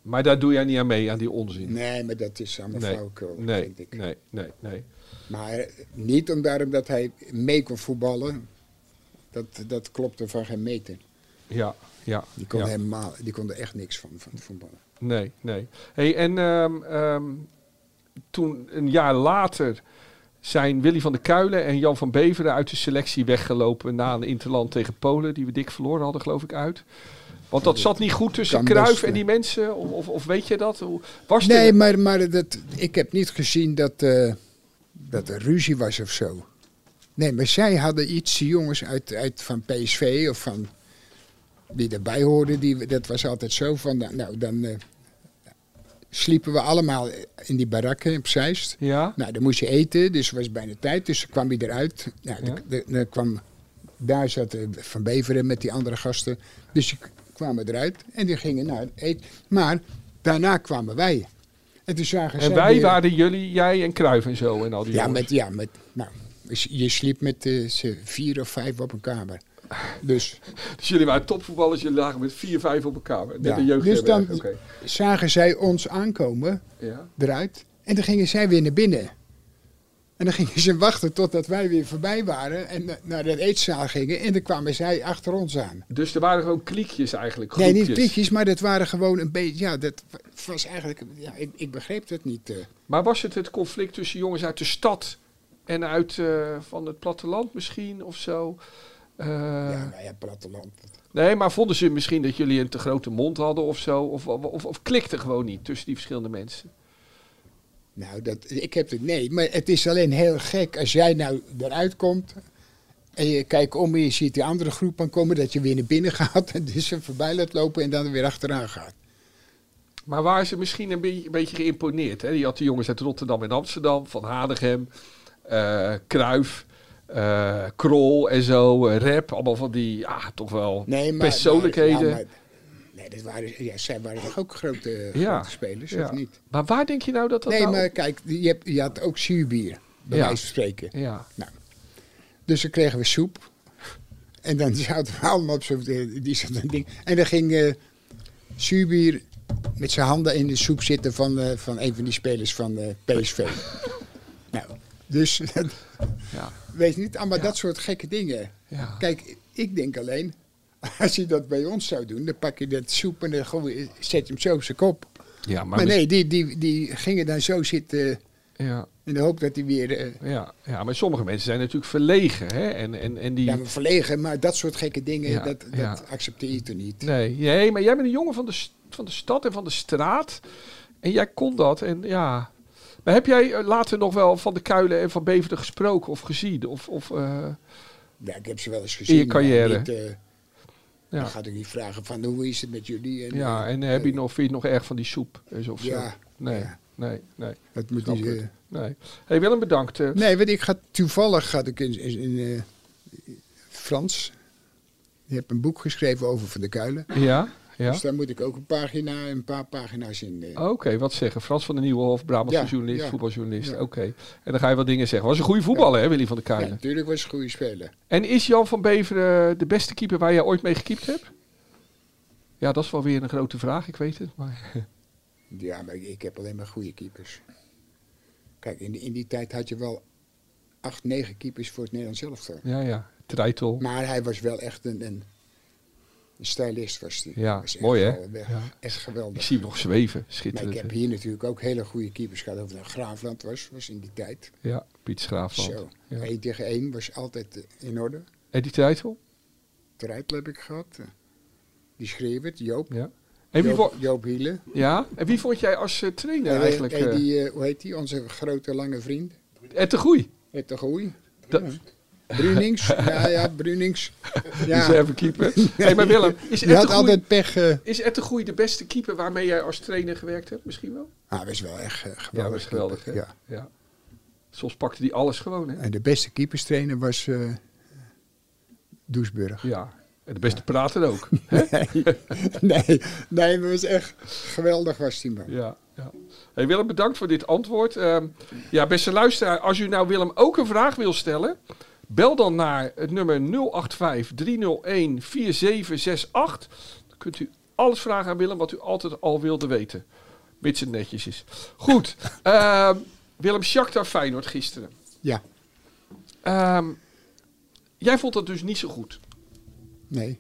S2: Maar daar doe jij niet aan mee, aan die onzin.
S1: Nee, maar dat is allemaal
S2: Nee,
S1: flauwekul,
S2: nee,
S1: vind ik.
S2: nee, nee, nee.
S1: Maar eh, niet om daarom dat hij mee kon voetballen. Dat, dat klopte van geen meter.
S2: Ja, ja.
S1: Die kon,
S2: ja.
S1: helemaal, die kon er echt niks van, van het voetballen.
S2: Nee, nee. Hey, en ehm, ehm, toen een jaar later zijn Willy van der Kuilen en Jan van Beveren uit de selectie weggelopen na een interland tegen Polen, die we dik verloren hadden, geloof ik, uit. Want dat zat niet goed tussen
S1: Kan
S2: Kruif
S1: best,
S2: en
S1: ja.
S2: die mensen, of, of, of weet je dat? Hoe- Was er-
S1: Nee, maar, maar dat, ik heb niet gezien dat, eh, dat er ruzie was of zo. Nee, maar zij hadden iets, die jongens uit, uit van PSV of van die erbij hoorden, die, dat was altijd zo van, nou dan eh, sliepen we allemaal in die barakken op Zeist.
S2: Ja,
S1: Nou, dan moest je eten, dus het was bijna tijd. Dus kwam hij eruit. Nou,
S2: Ja.
S1: de- de- de- kwam, daar zat eh, Van Beveren met die andere gasten. Dus die k- kwamen eruit en die gingen naar het eten. Maar daarna kwamen wij. En toen zagen
S2: en
S1: zij
S2: wij
S1: weer-
S2: waren jullie, jij en Kruif en zo en al die
S1: Ja,
S2: jongens.
S1: met, ja met, nou, dus je sliep met eh, z'n vier of vijf op een kamer. Dus
S2: Dus jullie waren topvoetballers, jullie lagen met 4-5 op elkaar. Net
S1: Ja.
S2: een jeugd
S1: Dus dan-
S2: Oké.
S1: zagen zij ons aankomen
S2: Ja.
S1: eruit. En dan gingen zij weer naar binnen. En dan gingen ze wachten totdat wij weer voorbij waren en na- naar de eetzaal gingen. En dan kwamen zij achter ons aan.
S2: Dus er waren gewoon kliekjes eigenlijk,
S1: Nee,
S2: groepjes.
S1: niet klikjes, maar dat waren gewoon een beetje. Ja, dat was eigenlijk. Ja, ik, ik begreep dat niet. eh.
S2: Maar was het het conflict tussen jongens uit de stad en uit eh, van het platteland misschien of zo? Eh,
S1: ja, nou ja, platteland.
S2: Nee, maar vonden ze misschien dat jullie een te grote mond hadden of zo? Of, of, of, of klikte gewoon niet tussen die verschillende mensen?
S1: Nou, dat, ik heb het. Nee, maar het is alleen heel gek als jij nou eruit komt. En je kijkt om en je ziet die andere groep aankomen. Dat je weer naar binnen gaat. En dus ze voorbij laat lopen en dan weer achteraan gaat.
S2: Maar waren ze misschien een beetje, een beetje geïmponeerd? Hè? Je had de jongens uit Rotterdam en Amsterdam, van Hadegem, eh Kruif, eh, Krol en zo, eh, Rep. Allemaal van die, ja, toch wel
S1: Nee, maar.
S2: persoonlijkheden.
S1: maar- ja, maar- nee, dat waren, ja, zij waren toch ook grote,
S2: Ja,
S1: grote spelers,
S2: ja.
S1: of niet?
S2: Maar waar denk je nou dat dat
S1: Nee,
S2: nou-
S1: maar kijk, je, hebt, je had ook zuurbier. Bij
S2: Ja.
S1: wijze van spreken. Nou.
S2: Ja,
S1: Dus dan kregen we soep. En dan zaten we allemaal op zo'n die zo'n ding. En dan ging eh Subir met zijn handen in de soep zitten van, eh, van een van die spelers van eh, PSV. nou, dus
S2: ja,
S1: weet niet, allemaal
S2: Ja.
S1: dat soort gekke dingen.
S2: ja.
S1: Kijk, ik denk alleen, als je dat bij ons zou doen, dan pak je dat soep en dan gooi, je- zet je hem zo op zijn kop.
S2: ja maar,
S1: Maar,
S2: mis-
S1: nee, die, die, die gingen dan zo zitten
S2: ja,
S1: in de hoop dat hij weer... eh,
S2: ja, ja, maar sommige mensen zijn natuurlijk verlegen. Hè? En, en, en die...
S1: ja, maar verlegen, maar dat soort gekke dingen,
S2: Ja,
S1: dat, dat
S2: ja.
S1: accepteer je toch niet.
S2: Nee, nee, maar jij bent een jongen van de, s- van de stad en van de straat. En jij kon dat. En ja. Maar heb jij eh, later nog wel van de Kuilen en van Beveren gesproken of gezien? Of, of, eh,
S1: Ja, ik heb ze wel eens gezien.
S2: je
S1: maar
S2: carrière?
S1: niet, eh,
S2: ja.
S1: Dan gaat ik niet vragen van hoe is het met jullie. En,
S2: ja,
S1: eh,
S2: en heb je nog, vind je het nog erg van die soep? en zo of zo?
S1: Ja,
S2: Nee,
S1: ja.
S2: nee, nee.
S1: dat moet
S2: Snap
S1: niet,
S2: het.
S1: eh,
S2: nee. hey, Willem, bedankt. eh.
S1: nee, want ik ga toevallig ga ik in, in, in, eh, Frans. Je hebt een boek geschreven over Van der Kuilen.
S2: Ja, ja. Oh,
S1: Dus daar moet ik ook een pagina, een paar pagina's in. eh.
S2: Oké, wat zeggen? Frans van den Nieuwenhof, Brabantse
S1: Ja,
S2: journalist,
S1: ja.
S2: voetbaljournalist.
S1: Ja.
S2: Oké. En dan ga je wat dingen zeggen. Was een goede voetballer, hè, Willy van der
S1: ja,
S2: Kuilen.
S1: natuurlijk was het een goede speler.
S2: En is Jan van Beveren de beste keeper waar jij ooit mee gekiept hebt? Ja, dat is wel weer een grote vraag, ik weet het. Maar...
S1: Ja, maar ik heb alleen maar goede keepers. Kijk, in, die- in die tijd had je wel acht, negen keepers voor het Nederlands elftal.
S2: Ja, ja, Treitel.
S1: Maar hij was wel echt een, een, een stylist was hij.
S2: Ja,
S1: was echt
S2: mooi, hè?
S1: geweldig.
S2: Ja.
S1: Echt
S2: Ik
S1: geweldig.
S2: zie hem nog zweven,
S1: Maar
S2: schitterend.
S1: ik heb hier natuurlijk ook hele goede keepers gehad. Over dat Graafland was, was in die tijd.
S2: Ja, Piet Schraafland.
S1: Zo.
S2: Ja.
S1: 1 tegen 1 was altijd eh, in orde.
S2: En die Treitel?
S1: Terijtel heb ik gehad. Eh, Die schreef het, Joop.
S2: Ja. En wie,
S1: Joop,
S2: vo-
S1: Joop Hielen.
S2: ja? en wie vond jij als eh, trainer
S1: En, eh,
S2: eigenlijk?
S1: en
S2: eh
S1: die, eh, hoe heet die? Onze grote lange vriend.
S2: Ed de Groei,
S1: Het de Goeie.
S2: Dat-
S1: Ja. Brunings. ja, ja, Brunings.
S2: ja.
S1: Ja.
S2: reservekeeper. hey, maar Willem, is Ed,
S1: Die
S2: de
S1: had
S2: Groei,
S1: altijd pech. eh.
S2: is Ed de Groei de beste keeper waarmee jij als trainer gewerkt hebt? Misschien wel?
S1: Ah, hij was wel echt eh, geweldig.
S2: Ja, dat is geweldig. Hè?
S1: keeper. Ja.
S2: Ja. Soms pakte hij alles gewoon, hè?
S1: En de beste keeperstrainer was eh Doesburg.
S2: Ja, en de beste prater ook.
S1: nee, nee, maar het was echt geweldig was die man.
S2: Ja, ja. Hey Willem, bedankt voor dit antwoord. Ehm, ja, beste luisteraar, als u nou Willem ook een vraag wil stellen, bel dan naar het nummer 085 301 4768. Dan kunt u alles vragen aan Willem wat u altijd al wilde weten. Mits het netjes is. Goed, ehm, Willem Shakhtar Feyenoord gisteren.
S1: Ja,
S2: Ehm, jij vond dat dus niet zo goed.
S1: nee.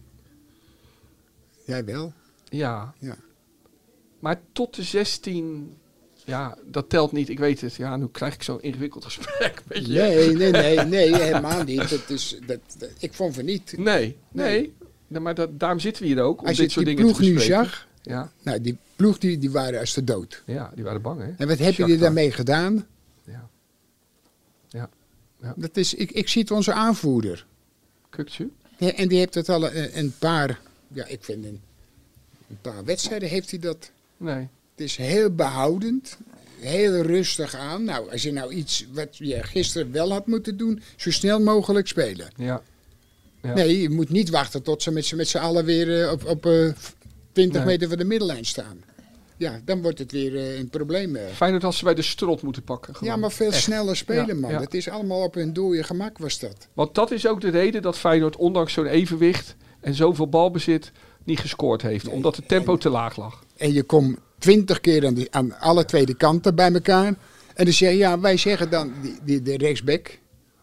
S1: Jij wel?
S2: Ja.
S1: Ja.
S2: Maar tot de 16 Ja, dat telt niet. Ik weet het. Ja, nu krijg ik zo'n ingewikkeld gesprek. Weet je.
S1: Nee, nee, nee, nee, helemaal niet. Dat is, dat, dat- ik vond van niet.
S2: Nee, nee. Nee, Maar dat, daarom zitten we hier ook. Om
S1: Als je
S2: dit soort
S1: die
S2: dingen te
S1: ploeg nu
S2: bespreken.
S1: zag,
S2: Ja,
S1: nou, die ploeg die, die waren als de dood.
S2: ja, die waren bang, hè?
S1: En wat heb je
S2: Shakhtar.
S1: er daarmee gedaan?
S2: Ja.
S1: Dat is, ik, ik zie het onze aanvoerder.
S2: Kukcu?
S1: Ja, en die heeft het al een, een paar, ja, ik vind een, een paar wedstrijden heeft hij dat.
S2: Nee.
S1: Het is heel behoudend, heel rustig aan. Nou, als je nou iets wat je gisteren wel had moeten doen, zo snel mogelijk spelen.
S2: Ja. Ja.
S1: Nee, je moet niet wachten tot ze met z'n, met z'n allen weer eh, op, op eh, 20
S2: Nee.
S1: meter van de middenlijn staan. Ja, dan wordt het weer eh, een probleem. eh.
S2: Feyenoord had ze bij de strot moeten pakken. gewoon.
S1: Ja, maar veel
S2: Echt.
S1: sneller spelen,
S2: Ja,
S1: man.
S2: ja.
S1: Het is allemaal op hun dode gemak, was dat.
S2: Want dat is ook de reden dat Feyenoord ondanks zo'n evenwicht en zoveel balbezit niet gescoord heeft.
S1: Nee,
S2: Omdat het tempo te laag lag.
S1: En je komt 20 keer aan, die, aan alle tweede kanten bij elkaar. En dan zeg je, ja, wij zeggen dan die, die, de rechtsback.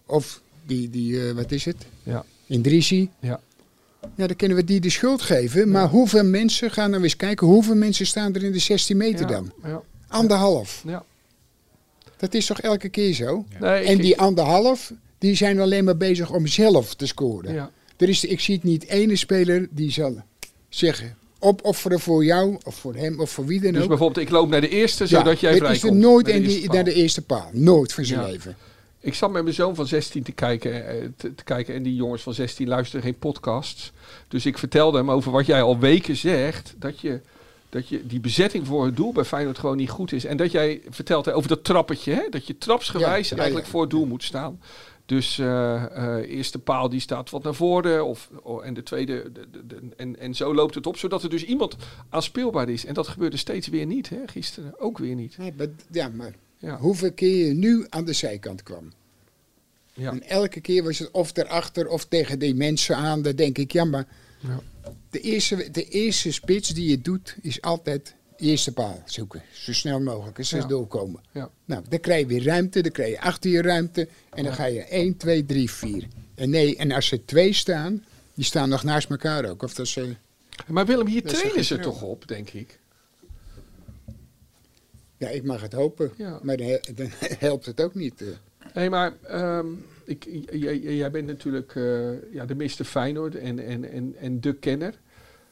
S1: Of die, die eh, wat is het?
S2: Ja.
S1: Indrisi.
S2: Ja.
S1: Ja, dan kunnen we die de schuld geven. Maar hoeveel mensen, gaan nou eens kijken, hoeveel mensen staan er in de 16 meter
S2: ja.
S1: dan?
S2: Ja.
S1: Anderhalf.
S2: ja.
S1: Dat is toch elke keer zo?
S2: Nee, ik-
S1: En die anderhalf, die zijn alleen maar bezig om zelf te scoren.
S2: Ja.
S1: Er is, ik zie het niet ene speler die zal zeggen, opofferen voor jou, of voor hem, of voor wie dan
S2: Dus
S1: ook.
S2: bijvoorbeeld, ik loop naar de eerste, zodat jij
S1: er is er
S2: vrijkomt.
S1: nooit
S2: Naar de
S1: een die
S2: eerste
S1: naar
S2: paal.
S1: de eerste paal. Nooit van zijn
S2: Ja.
S1: leven.
S2: Ik zat met mijn zoon van 16 te kijken, eh, te, te kijken en die jongens van 16 luisteren geen podcasts. Dus ik vertelde hem over wat jij al weken zegt, dat je, dat je die bezetting voor het doel bij Feyenoord gewoon niet goed is. En dat jij vertelt hè, over dat trappetje, hè, dat je trapsgewijs
S1: Ja, ja,
S2: eigenlijk
S1: ja.
S2: voor het doel moet staan. Dus eh, eh, eerste paal die staat wat naar voren of, o- en de tweede de- de- de- en, en zo loopt het op, zodat er dus iemand aanspeelbaar is. En dat gebeurde steeds weer niet, hè, gisteren ook weer niet.
S1: Nee, maar, ja, maar
S2: Ja.
S1: hoeveel keer je nu aan de zijkant kwam.
S2: Ja.
S1: En elke keer was het of erachter of tegen die mensen aan. Dan denk ik, ja, maar
S2: Ja.
S1: de, eerste, de eerste spits die je doet is altijd eerste paal zoeken. Zo snel mogelijk, en zo
S2: Ja.
S1: doorkomen.
S2: Ja.
S1: Nou, dan krijg je weer ruimte, dan krijg je achter je ruimte. En dan ga je 1, 2, 3, 4. En nee, en als er twee staan, die staan nog naast elkaar ook. Of dat ze,
S2: Maar Willem, hier
S1: Dat is
S2: trainen
S1: echt
S2: ze
S1: een
S2: toch op, denk ik.
S1: ja, ik mag het hopen.
S2: Ja.
S1: Maar dan, he- dan helpt het ook niet. eh.
S2: Nee, maar ehm, ik, j- j- jij bent natuurlijk eh, ja, de Mr. Feyenoord en, en, en, en de kenner.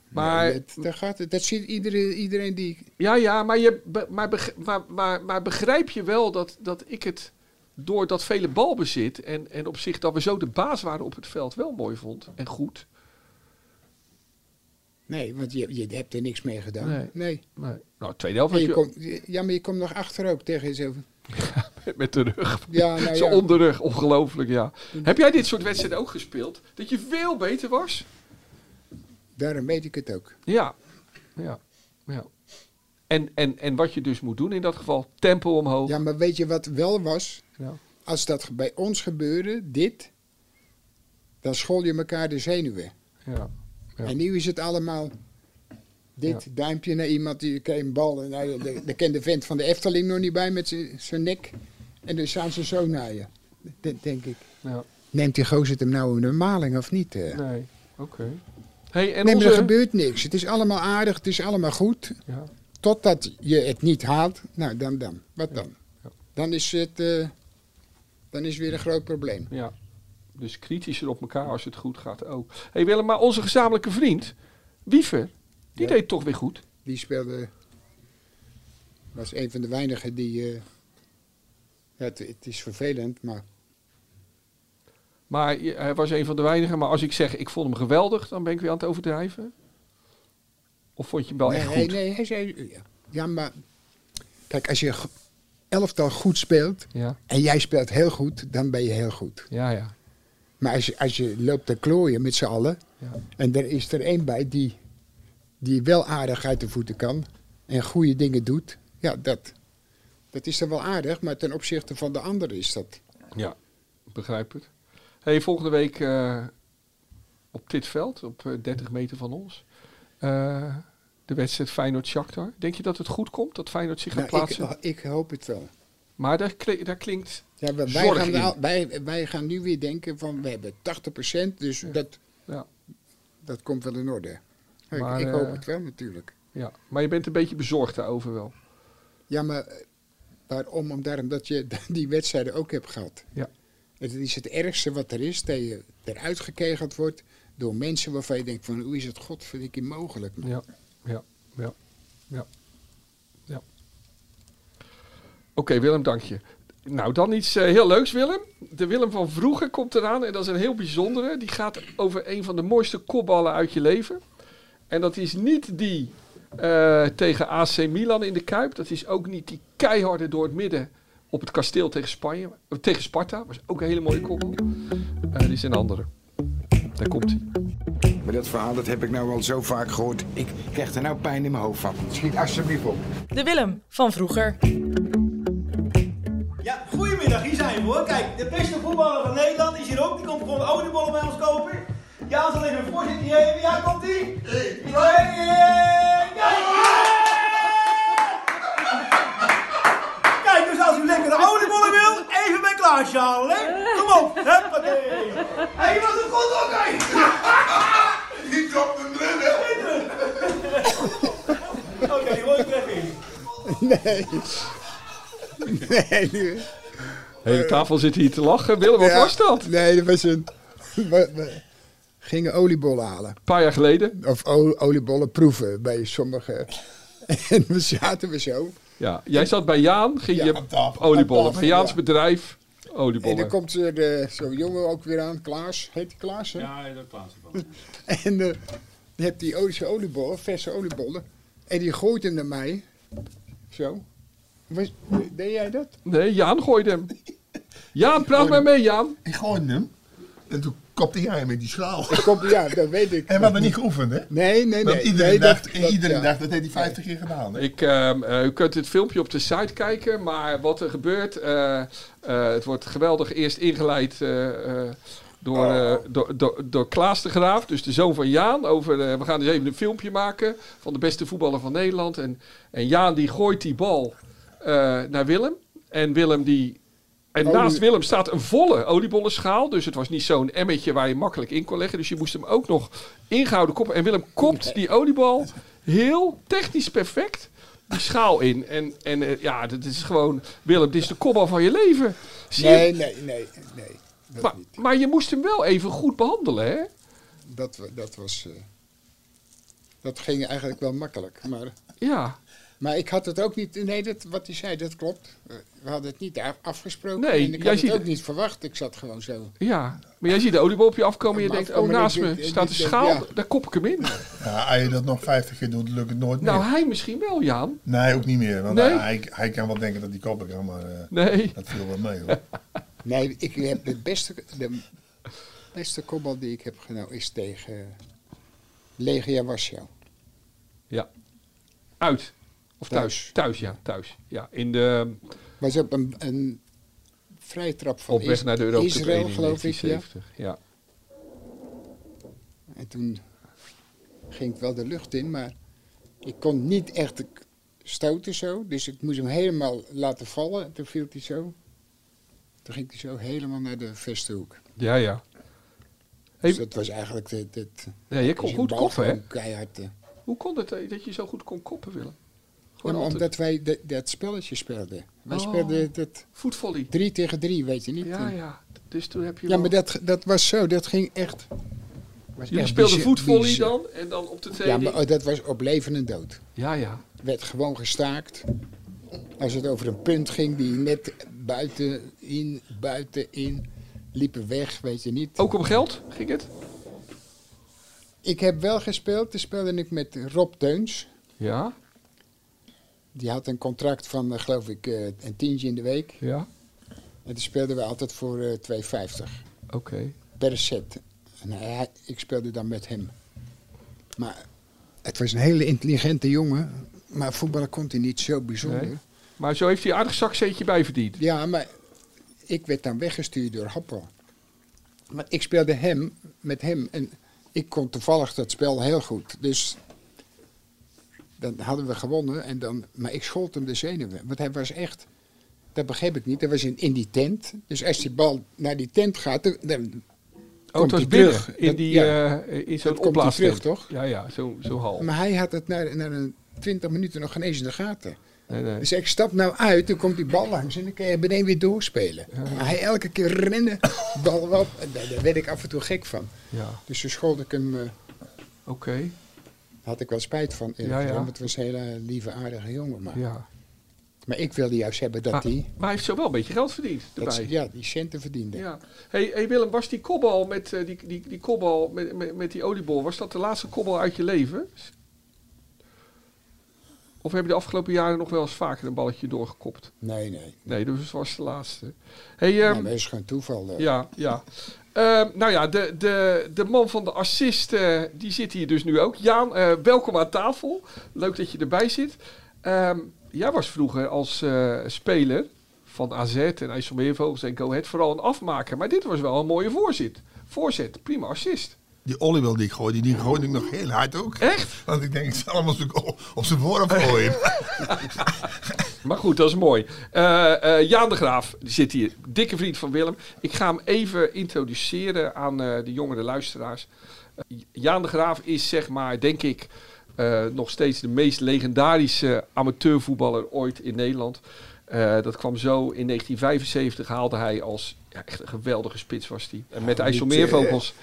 S2: Maar,
S1: dat, daar gaat het. Dat ziet iedereen, iedereen die.
S2: ja, ja, maar, je, be- maar, beg- maar, maar, maar begrijp je wel dat, dat ik het door dat vele balbezit en, en op zich dat we zo de baas waren op het veld wel mooi vond en goed.
S1: Nee, want je, je hebt er niks mee gedaan.
S2: Nee.
S1: Nee.
S2: Maar, nou, tweede helft
S1: En
S2: was
S1: je
S2: je
S1: komt- je- ja, maar je komt nog achter ook tegen jezelf.
S2: met de rug.
S1: Ja, nou
S2: Zo
S1: ja.
S2: onderrug, ongelooflijk, ja. Heb jij dit soort wedstrijden ook gespeeld? Dat je veel beter was?
S1: Daarom weet ik het ook.
S2: Ja, ja, ja. En, en, en wat je dus moet doen in dat geval, tempo omhoog.
S1: Ja, maar weet je wat wel was?
S2: Ja.
S1: Als dat bij ons gebeurde, dit, dan school je elkaar de zenuwen.
S2: Ja. Ja.
S1: En nu is het allemaal dit duimpje naar iemand die kreeg een bal. En nou, daar- daar kent de vent van de Efteling nog niet bij met zijn- zijn nek. En dan staan ze zo naar je. Dat denk ik.
S2: Ja.
S1: Neemt die gozer hem nou in de maling of niet? eh?
S2: Nee, oké. Hey, en
S1: nee, maar
S2: onze...
S1: er gebeurt niks. Het is allemaal aardig, het is allemaal goed.
S2: Ja.
S1: Totdat je het niet haalt, nou dan dan. Wat dan?
S2: ja.
S1: Dan is het eh, dan is weer een groot probleem.
S2: ja, dus kritischer op elkaar als het goed gaat ook. hey Willem, maar onze gezamenlijke vriend, Wiever, die deed toch weer goed.
S1: Die speelde, was een van de weinigen die, eh, ja, het, het is vervelend, maar
S2: Maar je- hij was een van de weinigen. Maar als ik zeg, ik vond hem geweldig, dan ben ik weer aan het overdrijven. Of vond je hem wel
S1: nee,
S2: echt goed?
S1: hij- nee, hij zei, ja. ja maar kijk als je go- elftal goed speelt
S2: Ja,
S1: en jij speelt heel goed, dan ben je heel goed.
S2: ja, ja.
S1: Maar als je, als je loopt te klooien met z'n allen,
S2: ja.
S1: En er is er één bij die, die wel aardig uit de voeten kan en goede dingen doet. Ja, dat, dat is dan wel aardig, maar ten opzichte van de ander is dat.
S2: Ja, ik begrijp het. Hey, volgende week eh, op dit veld, op eh, 30 meter van ons, eh, de wedstrijd Feyenoord-Shakhtar. Denk je dat het goed komt, dat Feyenoord zich gaat
S1: Nou, ik,
S2: plaatsen?
S1: ik hoop het wel.
S2: maar daar, kli- daar klinkt...
S1: Ja, maar wij,
S2: Zorg
S1: gaan
S2: in.
S1: al- wij, wij gaan nu weer denken van we hebben 80%, dus dat,
S2: Ja,
S1: dat komt wel in orde. Ik,
S2: Maar,
S1: ik hoop
S2: eh,
S1: het wel natuurlijk.
S2: ja. Maar je bent een beetje bezorgd daarover wel.
S1: Ja, maar eh, Waarom? Omdat omdat je die wedstrijden ook hebt gehad.
S2: Ja.
S1: Het is het ergste wat er is, dat je eruit gekegeld wordt door mensen waarvan je denkt van hoe is het godverdikke mogelijk. man?
S2: Ja, ja, ja, ja. ja. Oké, Willem, dank je. Nou, dan iets eh, heel leuks, Willem. De Willem van vroeger komt eraan en dat is een heel bijzondere. Die gaat over een van de mooiste kopballen uit je leven. En dat is niet die eh, tegen AC Milan in de Kuip. Dat is ook niet die keiharde door het midden op het kasteel tegen, Spanje, eh, tegen Sparta. Was ook een hele mooie kopbal. Eh die is een andere. Daar komt hij.
S5: Maar dat verhaal dat heb ik nou al zo vaak gehoord. Ik krijg er nou pijn in mijn hoofd van. Schiet alsjeblieft op.
S3: De Willem van vroeger.
S6: Ja, goedemiddag, hier zijn we hoor. Kijk, de beste voetballer van Nederland is hier ook. Die komt gewoon de oliebollen bij ons kopen. Ja, zal even een voorzitter geven. Ja, komt ie. Kijk, dus als u lekkere oliebollen wil, even bij Klaasje halen. hè. Kom op, huppatee. Hé, hey, was het goed, oké?
S5: Die dropt een bril,
S6: Oké, hoor ik weg in.
S1: Nee. Nee. nu-
S2: De hele tafel zit hier te lachen. Willem, wat
S1: Ja.
S2: was dat?
S1: Nee, dat was een... We, we gingen oliebollen halen.
S2: Een paar jaar geleden.
S1: Of o- oliebollen proeven bij sommige... En we zaten we zo.
S2: Ja, jij zat bij Jaan, ging
S1: Ja,
S2: je
S1: aan tafel. Aan
S2: oliebollen.
S1: tafel,
S2: Bij Jaans
S1: ja.
S2: bedrijf,
S1: En dan
S2: oliebollen.
S1: komt er eh, zo'n jongen ook weer aan. Klaas. Heet die Klaas, hè?
S7: Ja, dat plaatsen van.
S1: En eh, die hebt die Oodse oliebollen, verse oliebollen. En die gooit hem naar mij. Zo. Was, deed jij dat?
S2: Nee, Jaan gooide hem. Jaan, praat maar mee, Jaan.
S8: Ik gooide hem. En toen kopte jij hem in die schaal.
S1: Ik kom, ja, dat weet ik.
S8: En we hebben niet geoefend, hè?
S1: Nee, nee,
S8: Want
S1: nee.
S8: iedereen
S1: nee,
S8: dacht, dat,
S1: ja.
S8: iedereen dacht, dat heeft hij 50 keer gedaan. Hè?
S2: Ik, ehm, eh, u kunt het filmpje op de site kijken, maar wat er gebeurt, eh, eh, het wordt geweldig eerst ingeleid eh, eh, door,
S1: Oh.
S2: eh, door, door, door Klaas de Graaf, dus de zoon van Jaan. Over, eh, we gaan dus even een filmpje maken van de beste voetballer van Nederland. En, en Jaan die gooit die bal eh, naar Willem. En Willem die. En
S1: Olie-
S2: naast Willem staat een volle oliebollenschaal. Dus het was niet zo'n emmetje waar je makkelijk in kon leggen. Dus je moest hem ook nog ingehouden koppen. En Willem kopt die oliebal heel technisch perfect die schaal in. En, en eh, ja, dat is gewoon... Willem, dit is de kopbal van je leven. Zie je?
S1: Nee, nee, nee, nee. Dat,
S2: maar,
S1: niet.
S2: maar je moest hem wel even goed behandelen, hè?
S1: Dat, wa- dat was... eh, dat ging eigenlijk wel makkelijk. Maar,
S2: Ja.
S1: maar ik had het ook niet... Nee, dat, wat hij zei, dat klopt. Eh, We hadden het niet af- afgesproken.
S2: Nee,
S1: en ik
S2: jij
S1: had
S2: ziet
S1: het ook
S2: het.
S1: niet verwacht. Ik zat gewoon zo.
S2: Ja, maar jij ziet de oliebol op je afkomen en je
S1: Maar
S2: denkt, oh
S1: afkomen,
S2: naast
S1: ik
S2: me
S1: denk- ik
S2: staat een
S1: denk,
S2: schaal,
S1: ja.
S2: daar kop ik hem in.
S8: Ja, als je dat nog 50 keer doet, lukt het nooit meer.
S2: Nou, hij misschien wel, Jaan.
S8: nee, ook niet meer. Want
S2: Nee?
S8: hij, hij kan wel denken dat hij koppen kan, maar eh,
S2: Nee.
S8: dat viel wel mee, hoor.
S1: Nee, ik heb de beste, de beste kopbal die ik heb genomen is tegen Legia Warschau.
S2: Ja. Uit. Of thuis.
S1: Thuis.
S2: Thuis, ja. Thuis. Ja, in de,
S1: Was op een, een vrije trap van
S2: op weg
S1: Is-
S2: naar de Europa Cup
S1: Israël,
S2: 1 in
S1: geloof ik. Ja.
S2: 1970. Ja.
S1: En toen ging ik wel de lucht in, maar ik kon niet echt k- stoten zo. Dus ik moest hem helemaal laten vallen. En toen viel hij zo. Toen ging hij zo helemaal naar de verste hoek.
S2: Ja, ja.
S1: Dus
S2: Hey.
S1: dat was eigenlijk het... het
S2: Nee, je kon goed koppen, hè?
S1: Keihard, eh.
S2: Hoe kon het eh, dat je zo goed kon koppen, Willem?
S1: Ja,
S2: Gewoon
S1: maar
S2: altijd.
S1: omdat wij de- dat spelletje speelden. Wij
S2: Oh.
S1: speelden dat
S2: Voetvolley.
S1: drie tegen drie, weet je niet?
S2: Ja, ja. Dus toen heb je...
S1: Ja,
S2: wel-
S1: maar dat, dat was zo, dat ging echt... was
S2: Jullie
S1: echt
S2: speelden
S1: bizar-
S2: voetvolley
S1: bizar.
S2: dan en dan op de
S1: Ja,
S2: training.
S1: maar oh, dat was op leven en dood.
S2: ja, ja.
S1: Werd gewoon gestaakt. Als het over een punt ging, die net buitenin, buitenin, liepen weg, weet je niet.
S2: Ook om geld ging het?
S1: Ik heb wel gespeeld, toen speelde ik met Rob Teuns.
S2: Ja,
S1: Die had een contract van, eh, geloof ik, eh, een tientje in de week.
S2: ja.
S1: En toen speelden we altijd voor eh, 2,50.
S2: Oké.
S1: per set. En hij- ik speelde dan met hem. Maar het was een hele intelligente jongen. Maar voetballen kon hij niet zo bijzonder.
S2: Nee. Maar zo heeft hij een aardig zakcentje bij verdiend.
S1: Ja, maar ik werd dan weggestuurd door Happel. Want ik speelde hem met hem. En ik kon toevallig dat spel heel goed. Dus dan hadden we gewonnen. En dan, maar ik schold hem de zenuwen. Want hij was echt... Dat begreep ik niet. Hij was in, in die tent. Dus als die bal naar die tent gaat... dan- dan
S2: Oh, het
S1: komt
S2: was
S1: hij
S2: binnen
S1: terug.
S2: in,
S1: Dat-
S2: die,
S1: ja.
S2: eh, in zo'n
S1: Dat komt hij
S2: opblaastent.
S1: terug, toch?
S2: Ja, ja, zo'n zo hal.
S1: Maar hij had het na, na een 20 minuten nog geen eens in de gaten.
S2: Nee, nee.
S1: Dus ik stap nou uit, toen komt die bal langs en dan kan je beneden weer doorspelen. Maar hij elke keer rennen, bal op, en daar, daar werd ik af en toe gek van.
S2: Ja,
S1: Dus toen schold ik hem, eh,
S2: oké.
S1: had ik wel spijt van. eerlijk
S2: Ja, ja.
S1: gezegd, Want het was een hele lieve, aardige jongen. Maar,
S2: Ja.
S1: maar ik wilde juist hebben dat
S2: Maar,
S1: die,
S2: maar hij heeft zo wel een beetje geld verdiend
S1: dat,
S2: erbij.
S1: ze- ja, die centen verdiende.
S2: Ja. Hey, hey Willem, was die kopbal met eh, die, die, die kopbal met, met, met die oliebol, was dat de laatste kopbal uit je leven? Of heb je de afgelopen jaren nog wel eens vaker een balletje doorgekopt?
S1: Nee, nee.
S2: Nee, dus het was de laatste. Hey,
S1: Nou,
S2: ehm,
S1: maar dat is gewoon toeval. eh.
S2: ja, ja. Ehm, nou ja, de, de, de man van de assist, eh, die zit hier dus nu ook. Jaan, eh, welkom aan tafel. Leuk dat je erbij zit. Ehm, jij was vroeger als eh, speler van AZ en IJsselmeervogels en Go Ahead vooral een afmaker. Maar dit was wel een mooie voorzet. Voorzet, prima assist.
S8: Die oliebel die ik gooide, die gooide ik nog heel hard ook.
S2: Echt?
S8: Want ik denk, ik zal hem op z'n- op zijn voorhoofd gooien. Nou,
S2: Maar goed, dat is mooi. Eh, eh, Jaan de Graaf die zit hier, dikke vriend van Willem. Ik ga hem even introduceren aan eh, de jongere luisteraars. Eh, Jaan de Graaf is zeg maar, denk ik, eh, nog steeds de meest legendarische amateurvoetballer ooit in Nederland. Eh, dat kwam zo. In 1975 haalde hij als ja, echt een geweldige spits was hij. En met de IJsselmeervogels.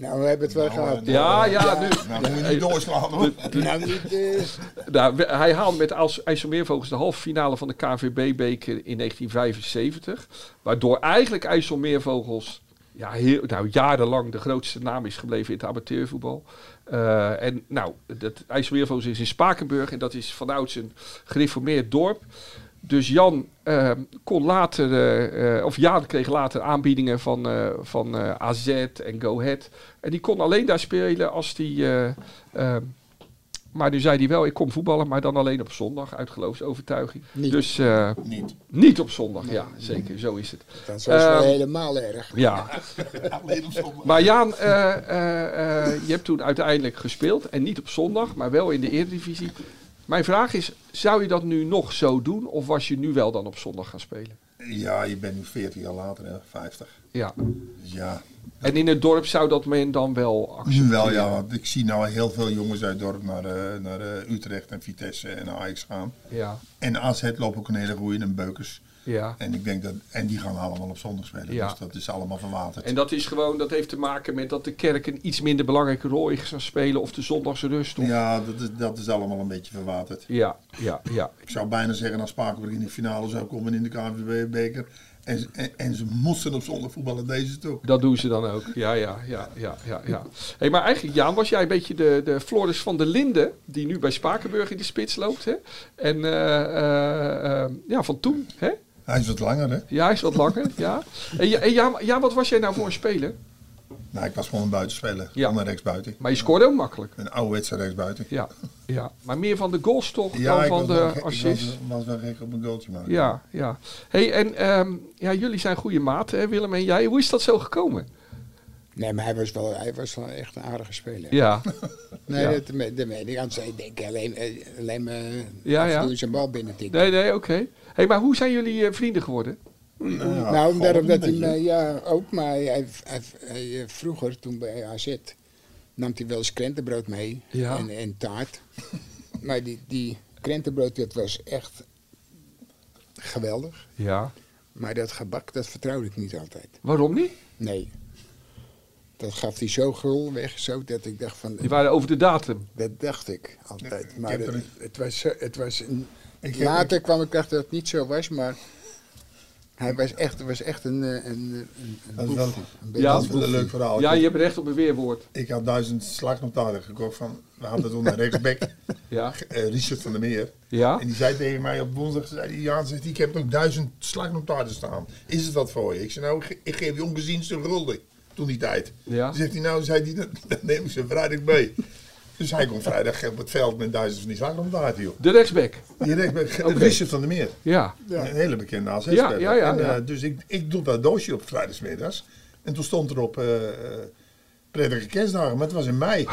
S1: Nou, we hebben het wel gehad.
S8: eh,
S2: Ja, ja, nu.
S8: Nou, moet je niet doorslaan hoor.
S1: Nou, niet, eh,
S2: Nou, we- hij haalde met IJs- IJsselmeervogels de halve finale van de KVB-beker in 1975. Waardoor eigenlijk IJsselmeervogels ja, heel, nou, jarenlang de grootste naam is gebleven in het amateurvoetbal. Eh, en nou, dat IJsselmeervogels is in Spakenburg en dat is vanouds een gereformeerd dorp. Dus Jan eh, kon later, eh, eh, of Jaan kreeg later aanbiedingen van, eh, van eh, AZ en Go Ahead. En die kon alleen daar spelen als die... eh, eh, maar nu zei hij wel, ik kom voetballen, maar dan alleen op zondag, uit geloofsovertuiging.
S1: Niet.
S2: Dus eh,
S8: Niet.
S2: niet op zondag, ja, zeker, zo is het.
S1: dat was wel
S2: Ehm,
S1: helemaal erg.
S2: Ja,
S8: Alleen op zondag.
S2: maar Jaan, eh, eh, eh, je hebt toen uiteindelijk gespeeld, en niet op zondag, maar wel in de Eredivisie. Mijn vraag is, zou je dat nu nog zo doen, of was je nu wel dan op zondag gaan spelen?
S8: Ja, je bent nu 40 jaar later, hè, 50.
S2: Ja,
S8: Dus ja,
S2: en in het dorp zou dat men dan wel
S8: nu
S2: accepteren?
S8: wel ja, want ik zie nou heel veel jongens uit het dorp naar, eh, naar eh, Utrecht en Vitesse en Ajax gaan.
S2: Ja,
S8: En AZ loopt ook een hele goeie en Beukers.
S2: ja.
S8: En ik denk dat, en die gaan allemaal op zondag spelen,
S2: Ja.
S8: dus dat is allemaal verwaterd.
S2: En dat is gewoon, dat heeft te maken met dat de kerk een iets minder belangrijke rol is gaan spelen, of de zondagsrust. Of...
S8: ja, dat is, dat is allemaal een beetje verwaterd.
S2: ja, ja, ja.
S8: Ik zou bijna zeggen, als Spakenburg in de finale zou komen in de KNVB-beker... En, ze- en, en ze moesten op zondag voetballen, deze toch.
S2: Dat doen ze dan ook. Ja, ja, ja, ja, ja. ja. Hey, maar eigenlijk, Jaan, was jij een beetje de, de Floris van der Linden, die nu bij Spakenburg in de spits loopt. Hè? En eh, eh, eh, ja, van toen. Hè?
S8: Hij is wat langer, hè?
S2: Ja, hij is wat langer. ja. En, ja, en Jaan, Jaan, wat was jij nou voor een speler?
S8: Nou, ik was gewoon een buitenspeler,
S2: Ja.
S8: gewoon een rechtsbuiten.
S2: Maar je scoorde ook makkelijk.
S8: Een ouderwetse rechtsbuiten.
S2: Ja, ja. Maar meer van de goals toch
S8: Ja,
S2: dan
S8: ik
S2: van
S8: was eh, wel gek-
S2: de
S8: ik
S2: assist.
S8: was, was wel gek op een goaltje maken.
S2: Ja, ja. Hey, en ehm, ja, jullie zijn goede maten, hè, Willem en jij. Hoe is dat zo gekomen?
S1: Nee, maar hij was wel, hij was wel echt een aardige speler.
S2: Ja,
S1: Nee,
S2: Ja.
S1: dat, me- dat weet ik. Anders ik denk ik alleen, eh, alleen maar
S2: Ja,
S1: af en
S2: ja.
S1: toe zijn bal binnen tikken.
S2: nee, nee, oké. Hey, maar hoe zijn jullie eh, vrienden geworden?
S8: Ja,
S1: nou,
S8: gewoon
S1: daarom
S8: een
S1: dat hij
S8: beetje.
S1: me, ja, ook, maar hij, hij, hij, eh, vroeger, toen bij AZ, nam hij wel eens krentenbrood mee
S2: Ja.
S1: en, en taart. maar die, die krentenbrood, dat was echt geweldig.
S2: Ja.
S1: Maar dat gebak, dat vertrouwde ik niet altijd.
S2: Waarom niet?
S1: Nee. Dat gaf hij zo gul weg, zo dat ik dacht van...
S2: Die waren over de datum.
S1: Dat dacht ik altijd.
S8: ik
S1: Maar
S8: heb
S1: het,
S8: er-
S1: het was, zo- het was een-
S8: Ik heb-
S1: later kwam ik achter dat het niet zo was, maar hij was echt, was echt een, eh, een, een, een
S8: Dat is
S1: boef.
S8: wel,
S1: Een beetje
S8: dat
S2: Ja.
S8: is wel een leuk verhaal.
S2: Ja,
S8: ik,
S2: je
S8: had,
S2: hebt recht op een weerwoord.
S8: ik had duizend slagnotaren gekocht van, we hadden toen een rechtsback,
S2: Ja.
S8: eh, Richard van der Meer.
S2: Ja.
S8: En die zei tegen mij op woensdag, zei die, Jaan, zegt, hij, ik heb nog duizend slagnotaren staan. Is het wat voor je? Ik zei, nou, ik, ge- ik geef je ongezien zijn gulden. Toen die tijd.
S2: Ja.
S8: Zegt hij, nou, zei die, dan, dan neem ik ze vrijdag mee. Dus hij komt vrijdag op het veld met duizend van die slagnotaren, joh.
S2: De rechtsback.
S8: Die rechtsback,
S2: Oké.
S8: Richard van der Meer.
S2: Ja.
S8: Een hele bekende AZ
S2: Ja, ja, ja,
S8: en, eh,
S2: ja.
S8: Dus ik, ik doe dat doosje op vrijdagmiddags. En toen stond er op eh, eh, prettige kerstdagen, maar het was in mei.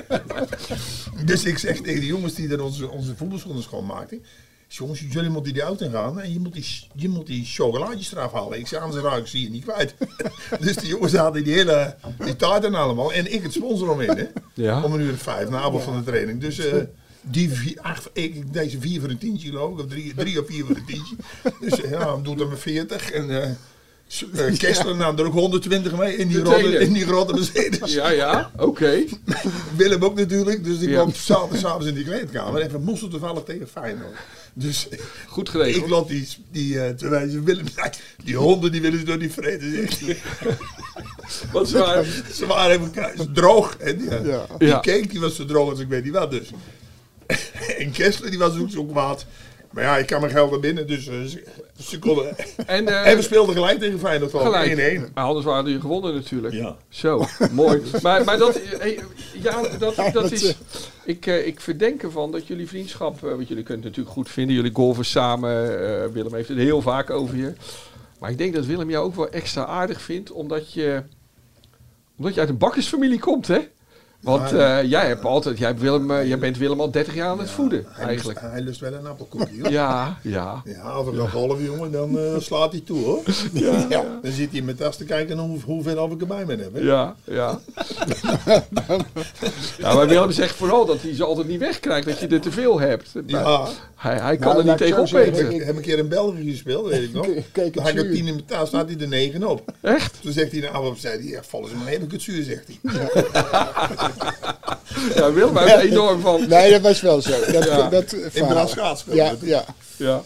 S8: dus ik zeg tegen de jongens die er onze, onze voetbalschoenen schoonmaakten. Jongens, jullie moeten die auto in gaan en je moet die, je moet die chocolaatjes eraf halen. Ik zei, anders raak ik ze hier niet kwijt. dus de jongens hadden die hele die taart en allemaal. En ik het sponsor om in, hè.
S2: Ja.
S8: Om een uur of vijf, na afloop van de training. Dus eh, Die vier, acht, ik, deze vier voor een tientje geloof ik, of drie, drie of vier voor een tientje. Dus eh, ja, doet er maar 40 en eh s- eh, Kessler nam er ook 120 mee in die,
S2: De
S8: rotte,
S2: tweede.
S8: in die rotte Mercedes.
S2: Ja, ja, oké.
S8: Willem ook natuurlijk, dus die
S2: Ja.
S8: kwam zaterdag s'avonds in die kleedkamer en we moesten toevallig tegen Feyenoord. Dus
S2: Goed
S8: ik
S2: geregeld.
S8: loop die, die eh, te wijzen, Willem zei, die honden die willen ze door die vrede.
S2: Wat zwaar.
S8: Ze waren even k- droog. En die, eh,
S1: Ja.
S8: die
S2: Ja.
S8: cake die was zo droog als ik weet niet wat. Dus. en Kessler die was ook zo kwaad. Maar ja, ik kan mijn geld naar binnen, dus eh, ze, ze konden...
S2: En, eh,
S8: en we speelden gelijk tegen Feyenoord van 1-1.
S2: Gelijk. Maar anders waren jullie gewonnen natuurlijk.
S8: Ja.
S2: Zo, mooi. Maar, maar dat, eh, ja, dat, dat is...
S1: dat,
S2: Ik, eh, ik verdenk ervan dat jullie vriendschap... eh, want jullie kunnen het natuurlijk goed vinden. Jullie golven samen. eh, Willem heeft het heel vaak over je. Maar ik denk dat Willem jou ook wel extra aardig vindt. Omdat je, omdat je uit een bakkersfamilie komt, hè? Want eh, jij, hebt altijd, jij, hebt Willem, eh, jij bent Willem al 30 jaar aan het voeden,
S8: Hij
S2: eigenlijk.
S8: Lust, hij lust wel een appelkoekje, hoor.
S2: Ja, ja.
S8: Ja, als ik een half jongen, dan eh, slaat hij toe, hoor. Ja. Dan zit hij in mijn tas te kijken hoe, hoeveel of ik erbij ben hebben.
S2: Ja, ja. ja, maar Willem zegt vooral dat hij ze altijd niet wegkrijgt, dat je er te veel hebt.
S8: Ja.
S2: Hij, hij kan
S1: Nou,
S2: er niet
S1: laat ik
S2: tegen
S1: zo zeggen,
S2: opeten.
S8: Ik heb een keer in België gespeeld, weet ik nog.
S1: Kijk, het
S8: Toen had ik er
S1: zuur.
S8: tien in mijn taal, staat hij er negen op.
S2: Echt?
S8: Toen zegt hij na afloop, zei hij, ja, vallen ze maar heb ik het zuur, zegt hij.
S2: Ja, Willem heeft er enorm van.
S1: Nee, dat was wel zo. Dat,
S2: Ja.
S1: dat verhaal.
S8: Brass Schaats speelde
S1: Ja,
S8: het.
S1: ja.
S2: Ja,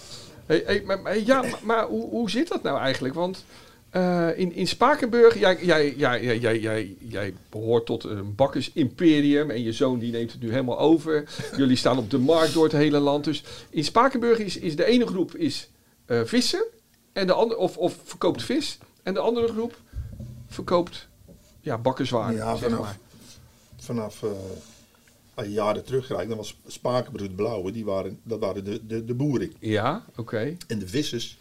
S2: hey, hey, maar, maar- ja, maar, maar hoe, hoe zit dat nou eigenlijk? Want eh, in, in Spakenburg, jij, jij, jij, jij, jij, jij, jij behoort tot een bakkersimperium en je zoon die neemt het nu helemaal over. Jullie staan op de markt door het hele land. Dus in Spakenburg is, is de ene groep is, eh, vissen en de andere, of, of verkoopt vis en de andere groep verkoopt ja, bakkerswaren.
S8: Ja,
S2: zeg
S8: vanaf,
S2: maar.
S8: vanaf eh, jaren teruggelijk, dan was Spakenbroed Blauwe, die waren, dat waren de, de, de boeren.
S2: Ja, oké.
S8: En de vissers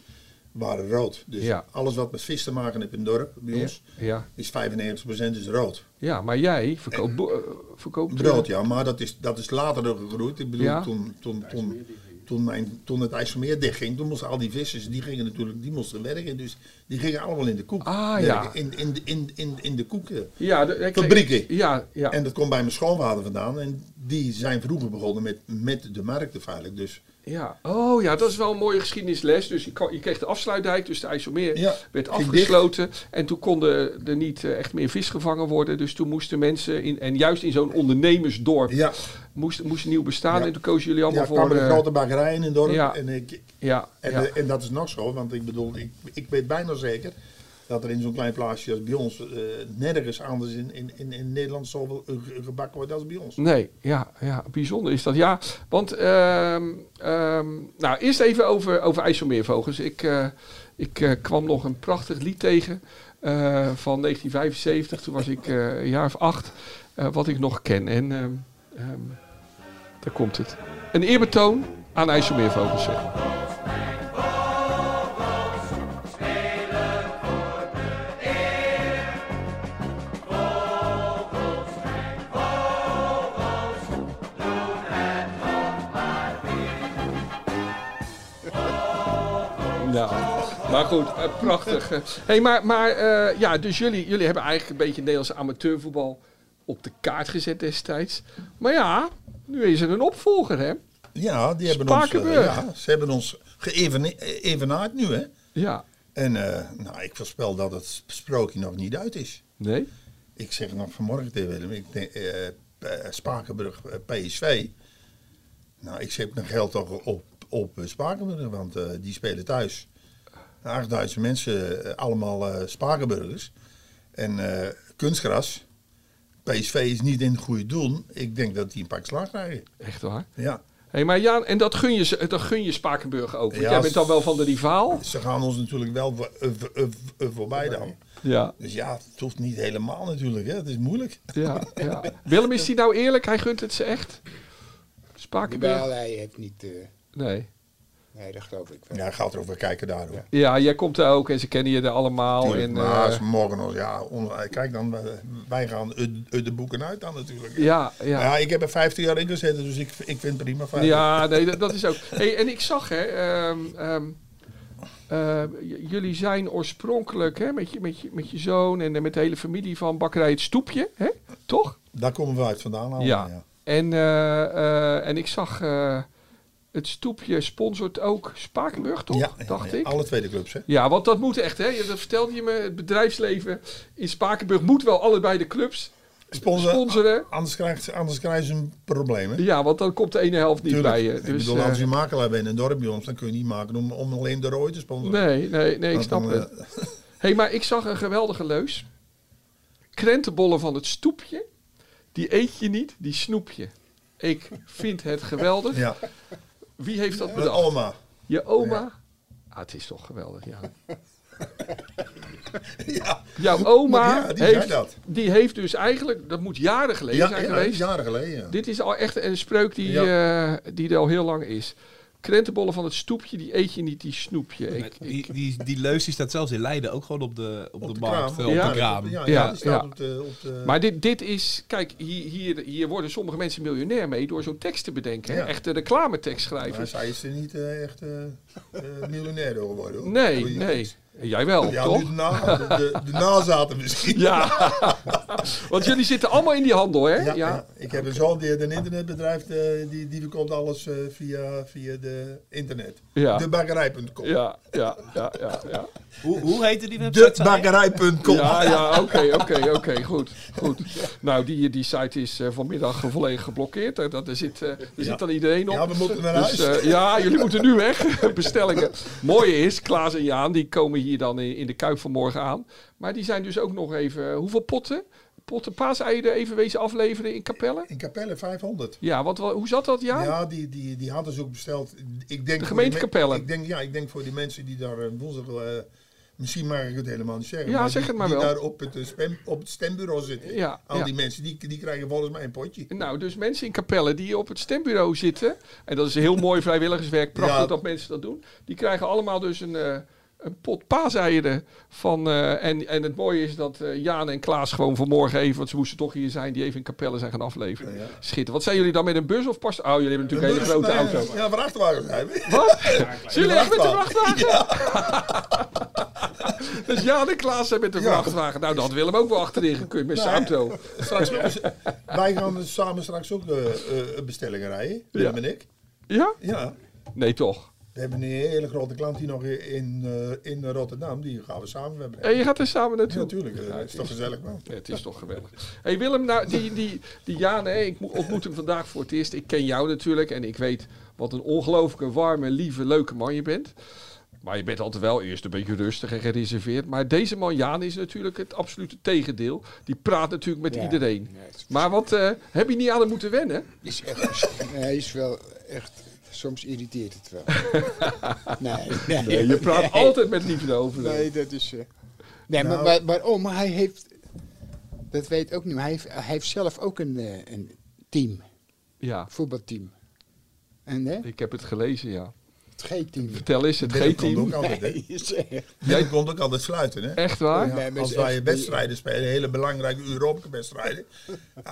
S8: waren rood. Dus
S2: Ja.
S8: alles wat met vis te maken heeft in het dorp, bij ons,
S2: Ja.
S8: is 95% is rood.
S2: ja, maar jij verkoopt, bo- eh, verkoopt
S8: Brood, ja, maar dat is, dat is later nog gegroeid. Ik bedoel,
S2: Ja.
S8: toen, toen, toen, toen, mijn, toen het IJsselmeer dichtging, toen moesten al die vissers, die gingen natuurlijk, die moesten werken. Dus die gingen allemaal in de koek
S2: Ah,
S8: werken.
S2: ja.
S8: In, in, de- in, in, in de koeken.
S2: Ja, de, ik-
S8: Fabrieken.
S2: Ja, ja.
S8: En dat komt bij mijn schoonvader vandaan. En die zijn vroeger begonnen met, met de markten feitelijk. Dus
S2: Ja, oh ja, dat is wel een mooie geschiedenisles. Dus je, kan- je kreeg de afsluitdijk, dus de IJsselmeer
S8: Ja,
S2: werd
S8: ging
S2: afgesloten. En toen konden er niet eh, echt meer vis gevangen worden. Dus toen moesten mensen, in, en juist in zo'n ondernemersdorp,
S8: ja,
S2: moest, moest nieuw bestaan.
S8: Ja.
S2: En toen kozen jullie
S8: ja
S2: allemaal voor...
S8: kwamen de
S2: eh,
S8: grote bakkerij in het dorp.
S2: ja.
S8: En, ik,
S2: ja,
S8: en,
S2: ja.
S8: eh, en dat is nog zo, want ik bedoel, ik, ik weet bijna zeker dat er in zo'n klein plaatsje als bij ons eh, nergens anders in, in, in, in Nederland zoveel eh, ge- gebakken wordt als bij ons.
S2: Nee, ja, ja, bijzonder is dat. Ja, want ehm, ehm, nou, eerst even over, over IJsselmeervogels. Ik, eh, ik eh, kwam nog een prachtig lied tegen eh, van 1975. Toen was ik eh, een jaar of acht, eh, wat ik nog ken. En ehm, ehm, daar komt het. Een eerbetoon aan IJsselmeervogels. zeg. Nou, maar goed, eh, prachtig. Hé, hey, maar, maar eh, ja, dus jullie, jullie hebben eigenlijk een beetje Nederlandse amateurvoetbal op de kaart gezet destijds. Maar ja, nu is er een opvolger, hè?
S8: Ja, die hebben ons, eh,
S2: Spakenburg.
S8: ja, ze hebben ons geëvenaard nu, hè.
S2: Ja.
S8: En eh, nou, ik voorspel dat het sprookje nog niet uit is.
S2: Nee?
S8: Ik zeg nog vanmorgen tegen Willem, ik denk, eh, eh, Spakenburg eh, PSV. Nou, ik zet mijn geld toch op, op eh, Spakenburg, want eh, die spelen thuis. 8000 mensen, eh, allemaal eh, Spakenburgers. En eh, kunstgras. PSV is niet in het goede doen. Ik denk dat die een pak slaag krijgen.
S2: Echt waar?
S8: Ja,
S2: Hé, maar ja, en dat gun je, ze- dat gun je Spakenburg ook. Want
S8: Ja,
S2: jij bent dan
S8: s-
S2: wel van de rivaal.
S8: ze gaan ons natuurlijk wel voor- eh, voor- eh, eh, voorbij dan.
S2: Ja.
S8: Dus ja, het hoeft niet helemaal natuurlijk. Hè. Het is moeilijk.
S2: ja, ja. Willem, is die nou eerlijk? Hij gunt het ze echt?
S1: Jawel,
S2: Spakenburg?
S1: hij heeft niet... eh,
S2: Nee.
S1: nee, dat geloof ik wel.
S8: Ja, gaat erover kijken daar hoor.
S2: Ja, jij komt daar ook en ze kennen je daar allemaal.
S8: Tuurlijk,
S2: En,
S8: maar
S2: eh,
S8: ze morgen nog, ja, on- kijk dan, eh, wij gaan eh, eh, de boeken uit dan natuurlijk.
S2: ja,
S8: Ja.
S2: ja.
S8: ik heb er 15 jaar in gezeten, dus ik, ik vind het prima. Fijn.
S2: Ja, nee, dat, dat is ook. Hey, en ik zag, hè, ehm, ehm, eh, j- jullie zijn oorspronkelijk hè, met, je, met, je, met je zoon en eh, met de hele familie van Bakkerij Het Stoepje, hè? toch?
S8: Daar komen we uit vandaan. Allemaal,
S2: Ja.
S8: Oh, ja.
S2: En, eh, eh, en ik zag eh, het stoepje sponsort ook Spakenburg, toch?
S8: Ja, ja,
S2: dacht
S8: ja,
S2: ik.
S8: Alle tweede clubs, hè?
S2: Ja, want dat moet echt, hè? Je- Dat vertelde je me. Het bedrijfsleven in Spakenburg moet wel allebei de clubs
S8: Sponsoren.
S2: sponsoren.
S8: Anders krijgt ze- anders krijgen ze een probleem, hè?
S2: Ja, want dan komt de ene helft niet
S8: Tuurlijk.
S2: bij je.
S8: ik
S2: Dus,
S8: bedoel,
S2: eh,
S8: als je makelaar bent in een dorp bij ons, dan kun je niet maken om, om alleen de rode te sponsoren.
S2: nee, nee, nee, ik
S8: Want
S2: snap
S8: dan,
S2: het.
S8: eh,
S2: hey, maar ik zag een geweldige leus. Krentenbollen van het stoepje. Die eet je niet, die snoep je. Ik vind het geweldig.
S8: ja,
S2: Wie heeft dat
S8: met
S2: bedacht?
S8: Alma.
S2: Je oma? Ah, het is toch geweldig, ja.
S8: Ja,
S2: Jouw oma
S8: Ja, die zei
S2: heeft,
S8: dat.
S2: die heeft dus eigenlijk, dat moet jaren geleden
S8: ja,
S2: zijn
S8: ja,
S2: geweest.
S8: jaren geleden. ja.
S2: Dit is al echt een spreuk die, eh, die er al heel lang is. Krentenbollen van het stoepje, die eet je niet, die snoepje. Ik, ik,
S7: Die, die, die leus die staat zelfs in Leiden ook gewoon op de, op de, markt.
S8: kraam.
S7: eh, Op
S2: Ja.
S7: de kraam.
S8: Ja, ja,
S2: Ja,
S8: die staat
S2: ja.
S8: op de... Op de
S2: maar dit, dit is, kijk, hier, hier, hier worden sommige mensen miljonair mee door zo'n tekst te bedenken. hè.
S8: Ja.
S2: Echte reclametekst
S8: maar
S2: schrijven.
S8: zij is er niet eh, echt eh, eh, miljonair door geworden, hoor.
S2: Nee,
S8: Goeie-
S2: nee. Jij wel,
S8: Oh, Ja,
S2: toch?
S8: nu de, na, de, de, de nazaten misschien.
S2: Ja, want jullie zitten allemaal in die handel, hè?
S8: Ja, ja. ik heb een zoon die heeft een internetbedrijf, eh, die, die verkoopt alles eh, via, via de internet.
S2: Ja.
S8: Debakkerij.com.
S2: Ja, ja, ja, ja. ja.
S7: Hoe, hoe heette die website? zei je?
S8: Debakkerij.com.
S2: Ja, ja, oké, oké, oké, goed, goed. Nou, die, die site is eh, vanmiddag volledig geblokkeerd. Er, dat, er, zit, eh, er zit dan iedereen op.
S8: Ja, we moeten naar
S2: Dus,
S8: huis.
S2: eh, ja, jullie moeten nu weg. Bestellingen. Mooie is, Klaas en Jaan, die komen hier dan in, in de Kuip vanmorgen aan. Maar die zijn dus ook nog even... Hoeveel potten? Potten paaseieren even wezen afleveren in Capelle?
S8: In Capelle 500.
S2: Ja, want wa- hoe zat dat, Jaan?
S8: Ja, die, die, die hadden ze ook besteld. Ik denk
S2: De
S8: voor die
S2: gemeente
S8: me-
S2: Capelle.
S8: Ik denk, ja, ik denk voor die mensen die daar eh, woensdag... eh, misschien mag ik het helemaal niet zeggen.
S2: Ja, zeg
S5: die-
S2: het maar
S8: die
S2: wel.
S8: daar op het, eh, spem- op het stembureau zitten.
S2: Ja,
S8: Al
S2: ja.
S8: die mensen, die, die krijgen volgens mij een potje.
S2: Nou, dus mensen in Capelle die op het stembureau zitten. En dat is heel mooi vrijwilligerswerk. Prachtig
S8: Ja.
S2: dat mensen dat doen. Die krijgen allemaal dus een, eh, een pot paaseieren. Van, eh, en, en het mooie is dat eh, Jaan en Klaas gewoon vanmorgen even... want ze moesten toch hier zijn, die even in Capelle zijn gaan afleveren. Schitterend. Wat zijn jullie dan met een bus of pas... Oh, jullie hebben natuurlijk een hele grote
S8: Nee,
S2: auto.
S8: Ja, vrachtwagen zijn we.
S2: Wat? Zijn jullie echt met de
S8: Vrachtwagen.
S2: vrachtwagen? dus Jaan en Klaas zijn met de vrachtwagen. Nou, dat had Willem ook wel achterin gekund met zijn
S8: Nou,
S2: auto.
S8: Straks, wij gaan dus samen straks ook eh, eh, bestellingen rijden, Willem en ik.
S2: Ja?
S8: Ja.
S2: Nee, toch.
S8: We hebben een hele grote klant hier nog in, eh, in Rotterdam. Die gaan we samen hebben.
S2: En je gaat er samen
S8: Ja,
S2: naartoe.
S8: natuurlijk. eh, is toch gezellig, man.
S2: Ja, het is toch geweldig. hey Willem, nou, die, die, die Jaan, hè, ik mo- ontmoet hem vandaag voor het eerst. Ik ken jou natuurlijk en ik weet wat een ongelooflijke, warme, lieve, leuke man je bent. Maar je bent altijd wel eerst een beetje rustig en gereserveerd. Maar deze man, Jaan, is natuurlijk het absolute tegendeel. Die praat natuurlijk met
S1: Ja.
S2: iedereen.
S1: Ja, het is-
S2: Maar wat eh, heb je niet aan hem moeten wennen?
S1: Is echt, hij is wel echt... Soms irriteert het wel. nee, nee,
S2: je praat
S1: nee.
S2: altijd met liefde over hem.
S1: Nee, dat is... eh, nee, maar
S8: Nou.
S1: waar- waarom? Maar hij heeft... Dat weet ik ook niet. maar Hij heeft, hij heeft zelf ook een, eh, een team.
S2: Ja,
S1: Voetbalteam. En hè?
S2: ik heb het gelezen, ja.
S1: Het G-team.
S2: Vertel eens, het
S8: Willem komt
S2: G-team.
S8: ook altijd, hè?
S1: is echt...
S8: Willem komt ook altijd sluiten, hè?
S2: Echt waar?
S1: Nee, maar
S8: Als
S1: is echt-
S8: wij wedstrijden spelen, hele belangrijke Europese wedstrijden.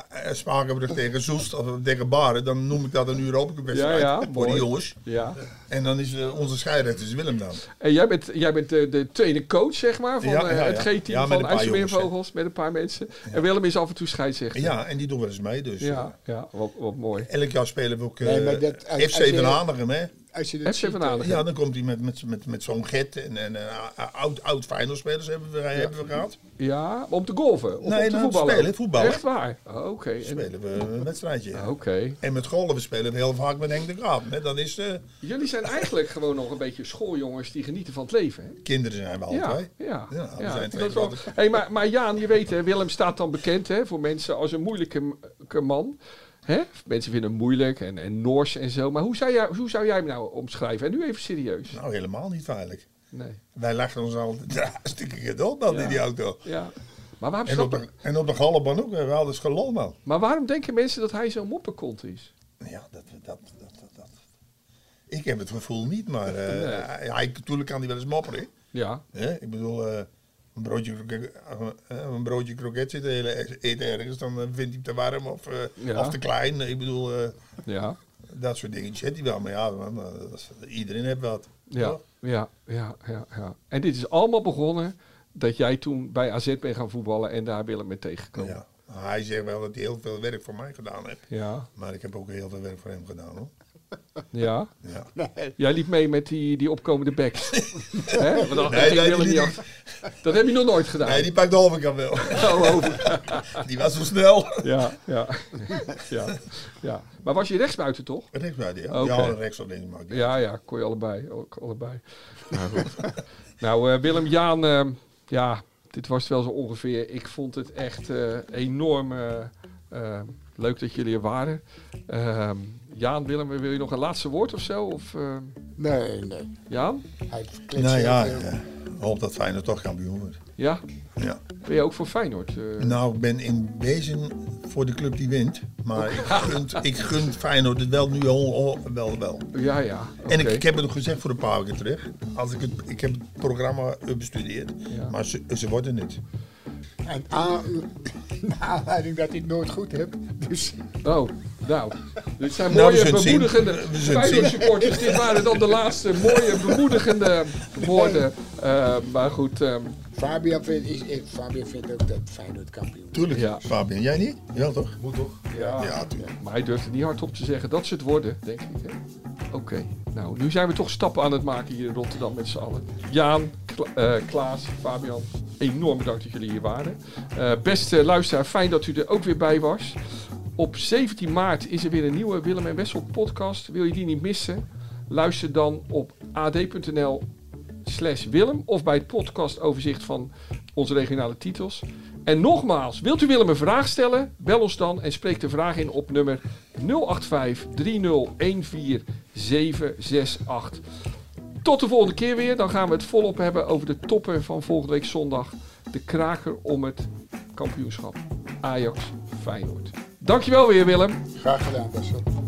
S8: eh, Spakenburg tegen Soest of tegen Baren, dan noem ik dat een Europese wedstrijd
S2: Ja, ja,
S8: voor
S2: mooi.
S8: die jongens.
S2: Ja.
S8: En dan is eh, onze scheidsrechter is Willem dan.
S2: En jij bent, jij bent de, de tweede coach, zeg maar, van
S8: Ja,
S2: eh,
S8: ja, ja.
S2: het G-team
S8: Ja, met een
S2: van
S8: paar jongens,
S2: IJsselmeervogels met een paar mensen. En Willem is af en toe scheidsrechter.
S8: Ja, en die doen wel eens mee. Dus
S2: ja, ja wat, wat mooi.
S8: eh, elk jaar spelen we ook eh,
S1: Nee, maar dat- als-
S8: FC
S1: als je-
S8: Den Hanegem, hè?
S1: Als je dat
S2: FC Van
S1: ziet,
S2: Hanegem.
S8: Ja, dan komt hij met, met, met, met zo'n get en, en eh, oud, oud finalspelers hebben we, hebben we gehad.
S2: Ja, om te golven? Of
S8: Nee,
S2: om te
S8: nou,
S2: voetballen?
S8: spelen, voetballen.
S2: Echt waar? Oh, Oké. En-
S8: Spelen we een wedstrijdje.
S2: Oké.
S8: En met golven spelen we heel vaak met Henk de Graaf. Hè? Dan is eh,
S2: Jullie zijn eigenlijk gewoon nog een beetje schooljongens die genieten van het leven, hè?
S8: kinderen zijn we altijd.
S2: Ja, ja.
S8: we
S2: ja,
S8: zijn
S2: dat
S8: twee
S2: is wel-
S8: grote-
S2: Hey, maar, maar Jaan, je weet, hè, Willem staat dan bekend hè, voor mensen als een moeilijke m- man. Hè? Mensen vinden hem moeilijk en, en nors en zo. Maar hoe zou, jij, hoe zou jij hem nou omschrijven? En nu even serieus.
S8: Nou, helemaal niet veilig.
S2: Nee.
S8: Wij lachen ons altijd ja, hartstikke geduld dan
S2: Ja.
S8: in die auto.
S2: Ja. Maar waarom,
S8: En op, de, en op de gallenbaan ook. hè. We hadden schalol man.
S2: maar waarom denken mensen dat hij zo'n moppenkont is?
S8: Ja, dat, dat, dat, dat, dat. Ik heb het gevoel niet, maar eh
S2: Nee.
S8: hij, hij- natuurlijk kan hij wel eens mopperen.
S2: Ja.
S8: Hè? Ik bedoel, eh, een, broodje kroket, eh, een broodje kroket zit de hele eten ergens, dan eh, vindt hij hem te warm of, eh,
S2: Ja.
S8: of te klein. Ik bedoel, eh,
S2: Ja.
S8: dat soort dingetjes heeft hij wel. Maar ja, man, eh, dat is- iedereen heeft wat.
S2: Ja.
S8: toch?
S2: Ja. Ja. Ja. ja. En dit is allemaal begonnen dat jij toen bij AZ bent gaan voetballen en daar Willem mee tegengekomen.
S8: Ja. Nou, hij zegt wel dat hij heel veel werk voor mij gedaan heeft.
S2: Ja,
S8: Maar ik heb ook heel veel werk voor hem gedaan hoor.
S2: ja.
S8: Ja.
S2: Jij liep mee met die, die opkomende backs. Hè? Want dan-
S8: Nee,
S2: ik
S8: nee,
S2: wil het
S8: die-
S2: niet af. Dat heb je nog nooit gedaan.
S8: Nee, die pakt de overkant wel.
S2: Oh, over.
S8: Die was zo snel.
S2: Ja, ja. ja, ja. Maar was je rechtsbuiten toch?
S8: Rechts buiten, ja.
S2: Oké.
S8: Ja, rechts of links maakt niet
S2: Ja, ja, kon je allebei. Ook allebei. Nou, goed. nou eh, Willem, Jaan, eh, ja, dit was het wel zo ongeveer. Ik vond het echt eh, enorm eh, eh, leuk dat jullie er waren. Ehm, Jaan, Willem, wil je nog een laatste woord of zo? Of, eh,
S1: Nee, nee.
S2: Jaan?
S1: Hij
S8: uit.
S1: kletst
S8: Nou
S1: heel
S8: ja,
S1: veel.
S8: ik eh, hoop dat Feyenoord toch kampioen wordt.
S2: Ja?
S8: Ja.
S2: Ben je ook voor Feyenoord? eh?
S8: Nou, ik ben in wezen voor de club die wint. Maar ik gun, ik gun Feyenoord het wel nu al, al- wel, wel.
S2: Ja, ja.
S8: En ik,
S2: oké.
S8: ik heb het ook gezegd voor een paar weken terug. Als ik, het, ik heb het programma eh, bestudeerd.
S2: Ja.
S8: Maar ze, ze worden het.
S1: En aan- naar aanleiding dat ik het nooit goed heb. Dus
S2: Oh, nou. Dit zijn
S8: Nou, we
S2: mooie,
S8: zullen het zien.
S2: bemoedigende...
S8: We zullen het
S2: Feyenoord supporters, dit waren dan de laatste mooie, bemoedigende woorden. Eh, maar goed, ehm,
S1: Fabian vindt, is, eh, Fabian vindt ook dat Feyenoord kampioen is.
S8: Tuurlijk,
S2: Ja.
S8: Fabian. Jij niet? Wel toch? Moet toch?
S2: ja.
S8: Ja, tuurlijk.
S2: Maar hij durfde niet hardop te zeggen dat ze het worden, denk ik. hè? Oké, nou, nu zijn we toch stappen aan het maken hier in Rotterdam met z'n allen. Jaan, Kla- eh, Klaas, Fabian, enorm bedankt dat jullie hier waren. Eh, beste luisteraar, fijn dat u er ook weer bij was. Op 17 maart is er weer een nieuwe Willem en Wessel podcast. Wil je die niet missen? Luister dan op ad.nl slash Willem of bij het podcastoverzicht van onze regionale titels. En nogmaals, wilt u Willem een vraag stellen? Bel ons dan en spreek de vraag in op nummer 085 3014 768. Tot de volgende keer weer. Dan gaan we het volop hebben over de toppen van volgende week zondag. De kraker om het kampioenschap. Ajax Feyenoord. Dankjewel weer Willem.
S1: Graag gedaan, Bessel.